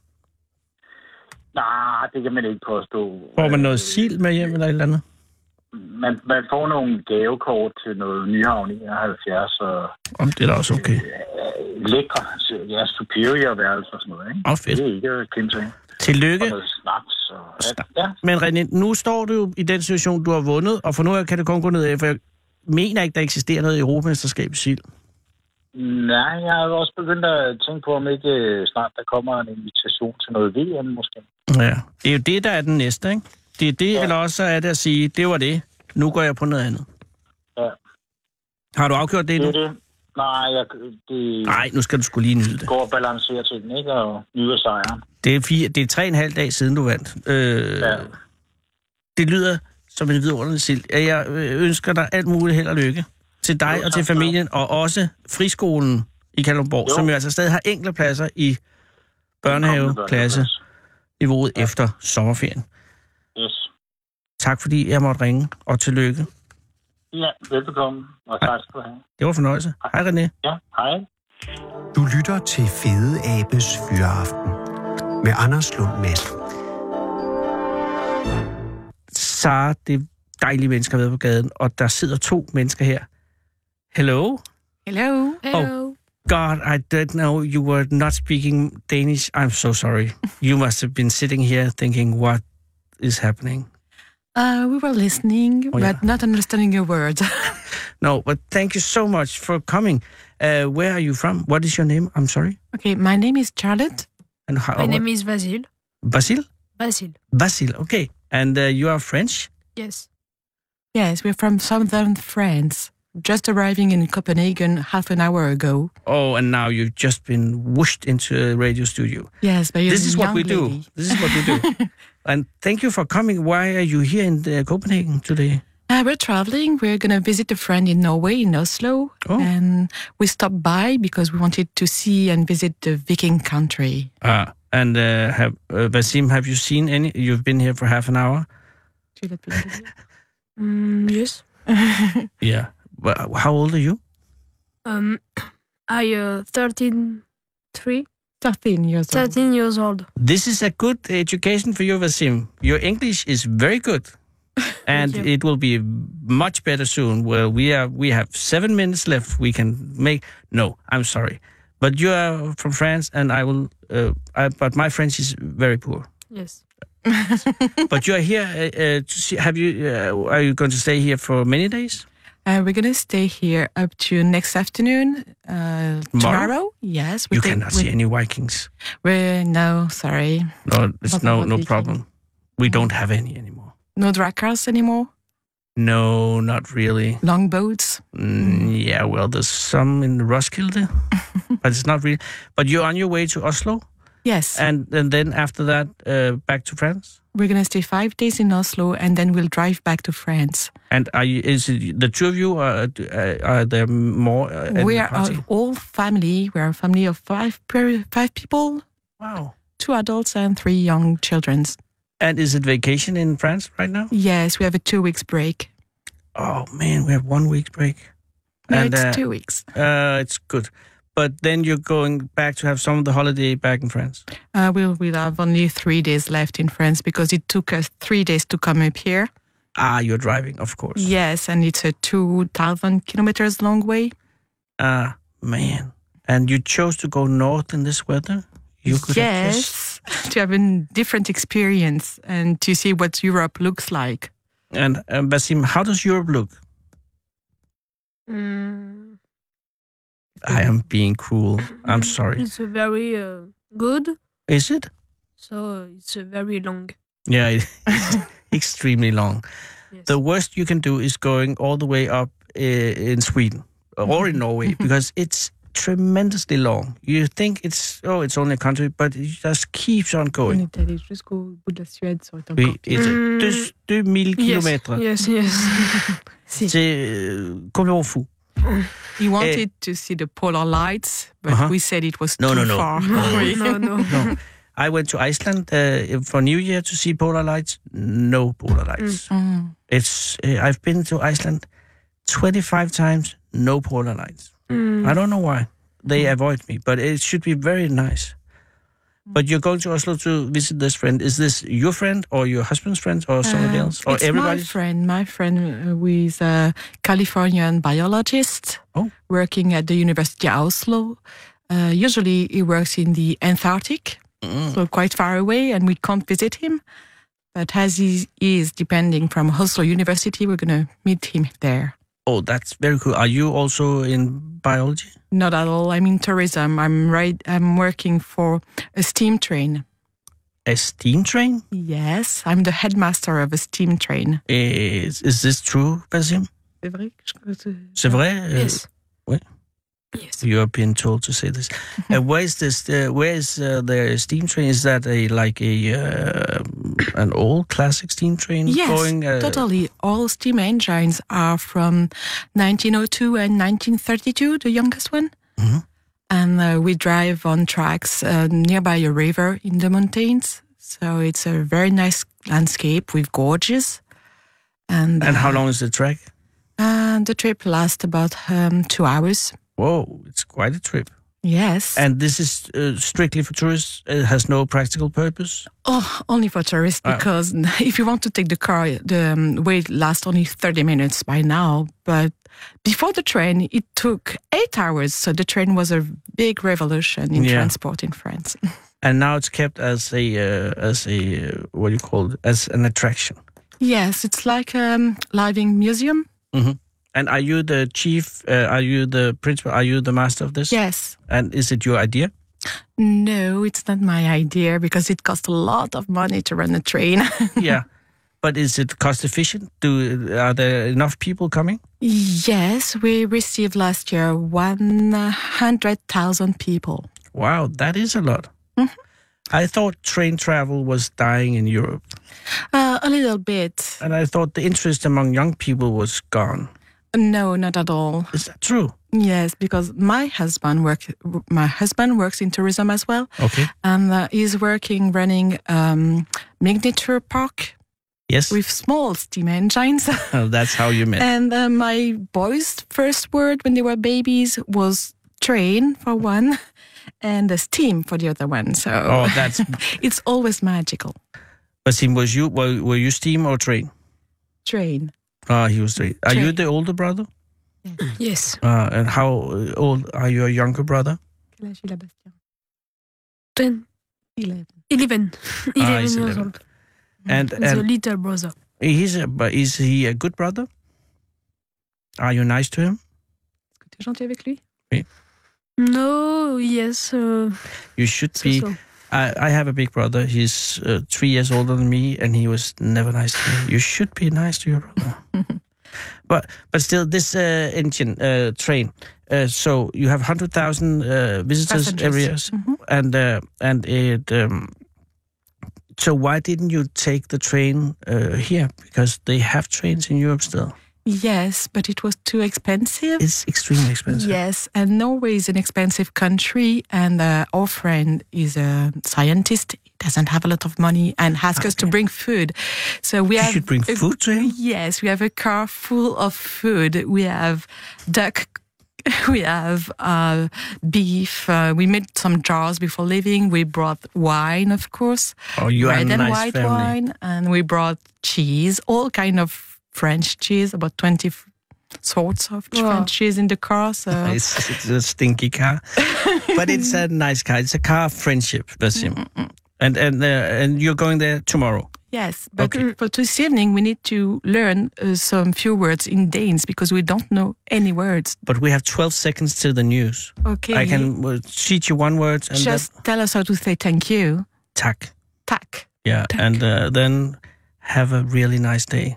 H: Nej, det kan man ikke påstå.
E: Får man noget
H: Øh,
E: sild med hjem eller et eller andet?
H: Man, man får nogle gavekort til noget Nyhavn 71, og
E: Om det er da også okay.
H: øh, lækre, ja, superior værelser og sådan noget, ikke?
E: Åh, fedt.
H: Det er ikke øh, at kæmpe sig. ind.
E: Tillykke.
H: Og noget snaps, og ja,
E: Snaps.
H: ja,
E: Men René, nu står du jo i den situation, du har vundet, og for nu af kan det kun gå nedad, for jeg mener ikke, der eksisterer noget europamesterskab i sild.
H: Nej, jeg har jo også begyndt at tænke på, om ikke øh, snart der kommer en invitation til noget VM måske.
E: Ja. Det er jo det, der er den næste, ikke? Det er det, ja. eller også er det at sige, det var det, nu går jeg på noget andet.
H: Ja.
E: Har du afgjort det
H: Det
E: endnu?
H: er det. Nej, jeg, det
E: Nej, nu skal du skulle lige nyde det.
H: går og balancerer til den, ikke? Og nyder sejren.
E: Det er, fire, det er tre og en halv dag siden, du vandt. Øh,
H: Ja.
E: ja. Det lyder som en vidunderlig sild. Ja, Jeg øh, ønsker dig alt muligt held og lykke til dig
H: Jo,
E: og
H: tak
E: til
H: skal du have.
E: familien, og også friskolen i Kalundborg,
H: Jo.
E: som jo altså stadig har enkle pladser i børnehaveklasse niveauet ja. efter sommerferien.
H: Yes.
E: Tak fordi jeg måtte ringe, og tillykke.
H: Ja, velbekomme, og tak skal du have.
E: Det var fornøjelse. Hej René.
H: Ja, hej.
F: Du lytter til Fede Abes Fyraften med Anders Lund Madsen.
E: Sara, det er dejlige mennesker ved på gaden, og der sidder to mennesker her. Hello? Oh,
I: Hello.
G: Hello.
E: God, I didn't know you were not speaking Danish. I'm so sorry. You must have been sitting here thinking, what is happening?
I: Uh, we were listening,
E: Oh, yeah.
I: but not understanding a word.
E: No, but thank you so much for coming. Uh, where are you from? What is your name? I'm sorry.
I: okay, my name is Charlotte.
E: And how,
J: My name is Vasil.
E: Basil?
J: Vasil.
E: Basil, okay. And uh, you are French?
J: Yes.
I: Yes, we're from southern France. Just arriving in Copenhagen half an hour ago.
E: Oh, and now you've just been whooshed into a radio studio.
I: Yes, but
E: this is what we do. This is what we do. and thank you for coming. Why are you here in uh, Copenhagen today?
I: Uh, we're traveling. We're gonna visit a friend in Norway, in Oslo,
E: Oh.
I: and we stopped by because we wanted to see and visit the Viking country.
E: Uh, and uh, have, uh, Vasim, have you seen any? You've been here for half an hour.
J: Mm, yes.
E: Yeah. Well, how old are you?
J: Um, I uh, 13, three,
I: Thirteen years old.
J: 13 years old.
E: This is a good education for you, Vasim. Your English is very good, and
J: you.
E: it will be much better soon. Well, we are we have seven minutes left. We can make. No, I'm sorry, but you are from France, and I will. Uh, I, but my French is very poor.
J: Yes.
E: but you are here. Uh, uh, to see, have you? Uh, are you going to stay here for many days?
I: Uh, we're gonna stay here up to next afternoon. Uh,
E: Tomorrow?
I: tomorrow? Yes. We
E: you
I: take-
E: cannot
I: we-
E: see any Vikings.
I: We're no, sorry,
E: No, it's
I: Nothing
E: no
I: but
E: no
I: Viking.
E: problem. We don't have any anymore.
I: no dragcars anymore.
E: No, not really.
I: Long boats.
E: Mm, yeah, well, there's some in Roskilde, but it's not really. But you're on your way to Oslo,
I: Yes.
E: and, and then after that, uh, back to France.
I: we're gonna stay five days in Oslo, and then we'll drive back to France.
E: And are you, is it the two of you? Are, uh, are there more? Uh, in
I: we
E: the
I: are
E: party?
I: a- all family. We're a family of five per- five people,
E: wow.
I: two adults and three young children.
E: And is it vacation in France right now?
I: Yes, we have a two weeks break.
E: Oh man, we have one week break.
I: No,
E: and
I: it's
E: uh,
I: two weeks.
E: uh, it's good. But then you're going back to have some of the holiday back in France.
I: Uh, we'll we'll have only three days left in France because it took us three days to come up here.
E: Ah, you're driving, of course.
I: Yes, and it's a two thousand kilometers long way.
E: Ah, man. And you chose to go north in this weather? You could have just-
I: yes, to have a different experience and to see what Europe looks like.
E: And um, Basim, how does Europe look?
J: Mm, Mm-hmm.
E: I am being cruel. I'm sorry.
J: It's a very uh, good,
E: Is it?
J: so it's a very long.
E: Yeah, it- extremely long. The worst you can do is going all the way up uh, in Sweden or
J: Mm-hmm.
E: in Norway because it's tremendously long. You think it's oh, it's only a country, but it just keeps on
I: On
E: going.
I: est allé jusqu'au bout de la Suède, ça aurait été
E: Oui,
I: encore pire.
E: it's
J: Mm.
E: deux- 2000 kilometer.
J: Yes, yes.
E: C'est euh, complètement fou.
I: He wanted to see the polar lights, but
E: Uh-huh.
I: we said it was
E: No,
I: too
E: no, no.
I: far.
J: no,
I: Oui.
J: no, no.
E: No. I went to Iceland uh, for New Year to see polar lights. No polar lights.
I: Mm.
E: It's uh, I've been to Iceland 25 times. No polar lights.
J: Mm.
E: I don't know why they avoid me, but it should be very nice. But you're going to Oslo to visit this friend. Is this your friend or your husband's friend or somebody
I: Um,
E: else or
I: it's my
E: everybody's?
I: friend, my friend, uh, who is a Californian biologist
E: Oh.
I: working at the University of Oslo. Uh, usually, he works in the Antarctic, so quite far away, and we can't visit him. But as he is depending from Oslo University, we're going to meet him there.
E: Oh, that's very cool. Are you also in biology?
I: Not at all. I'm in tourism. I'm right. I'm working for a steam train.
E: A steam train?
I: Yes, I'm the headmaster of a steam train.
E: Is, is this true, Basim?
I: C'est vrai que je crois que c'est-
E: C'est vrai? Uh,
J: Yes.
E: what?
J: Yes.
E: You have been told to say this.
I: Mm-hmm.
E: and where is this? Uh, where is uh, the steam train? Is that a like a uh, an old classic steam train
I: Yes,
E: going? uh,
I: totally. All steam engines are from 1902 and 1932, the youngest one.
E: Mhm.
I: And uh, we drive on tracks uh, nearby a river in the mountains. So it's a very nice landscape with gorges. And,
E: And how long is the track?
I: and Uh, the trip lasts about um, two hours.
E: Whoa, it's quite a trip.
I: Yes.
E: And this is uh, strictly for tourists. It has no practical purpose.
I: Oh, only for tourists
E: Ah.
I: because if you want to take the car, the um, wait lasts only 30 minutes by now. But before the train, it took eight hours. So the train was a big revolution in
E: Yeah.
I: transport in France.
E: And now it's kept as a uh, as a uh, what do you call it? As an attraction.
I: yes, it's like a um, living museum.
E: And are you the chief? Uh, are you the principal? Are you the master of this?
I: Yes.
E: And is it your idea?
I: No, it's not my idea because it costs a lot of money to run a train.
E: yeah. But is it cost efficient? Do are there enough people coming?
I: yes, we received last year 100,000 people. Mm-hmm.
E: Wow, that is a lot. I thought train travel was dying in Europe,
I: Uh, a little bit.
E: and I thought the interest among young people was gone.
I: No, not at all.
E: Is that true?
I: Yes, because my husband work my husband works in tourism as well,
E: Okay.
I: and uh, he's working running um, miniature park
E: Yes. Oh,
I: with small steam engines.
E: That's how you met.
I: and uh, my boys' first word when they were babies was train for one, and the steam for the other one. So
E: Oh, that's
I: it's always magical.
E: Basim. Was you were, were you steam or train?
I: Train.
E: Ah, he was train. Are you
I: Train.
E: the older brother?
J: Yes.
E: Uh, and how uh, old are your younger brother?
J: Ten. Eleven.
E: Ah,
J: Eleven
E: he's
J: years
E: 11.
J: old.
E: And
J: the
E: and
J: little brother.
E: he's a, but is he a good brother? Are you nice to him?
J: No, yes. Uh,
E: You should
J: so,
E: be.
J: so.
E: I, I have a big brother. He's uh, three years older than me, and he was never nice to me. You should be nice to your brother. but but still, this uh, engine uh, train. Uh, so you have hundred thousand uh, visitors every year,
I: Passengers.
J: Mm-hmm.
I: Mhm.
E: and uh, and it. Um, so why didn't you take the train uh, here? Because they have trains in Europe still.
I: Yes, but it was too expensive.
E: It's extremely expensive.
I: Yes, and Norway is an expensive country, and uh, our friend is a scientist. He doesn't have a lot of money and asks us to bring food. So we
E: You
I: have
E: should bring
I: a-
E: food to him.
I: Yes, we have a car full of food. We have duck. We have uh, beef. Uh, we made some jars before leaving. We brought wine, of course,
E: Oh, you are a
I: red and
E: nice
I: white
E: family.
I: wine, and we brought cheese, all kind of French cheese, about twenty f- sorts of
J: Wow.
I: French cheese in the car. So
E: It's, it's a stinky car, but it's a nice car. It's a car of friendship, Basim. And and uh, and you're going there tomorrow.
H: Mm, Yes, but
E: Okay.
H: for this evening we need to learn uh, some few words in Danes because we don't know any words.
E: But we have 12 seconds to the news.
H: Okay.
E: I can uh, teach you one word and
H: Just tell us how to say thank you.
E: then tak.
H: Tak.
E: Yeah, and uh, then have a really nice day. Have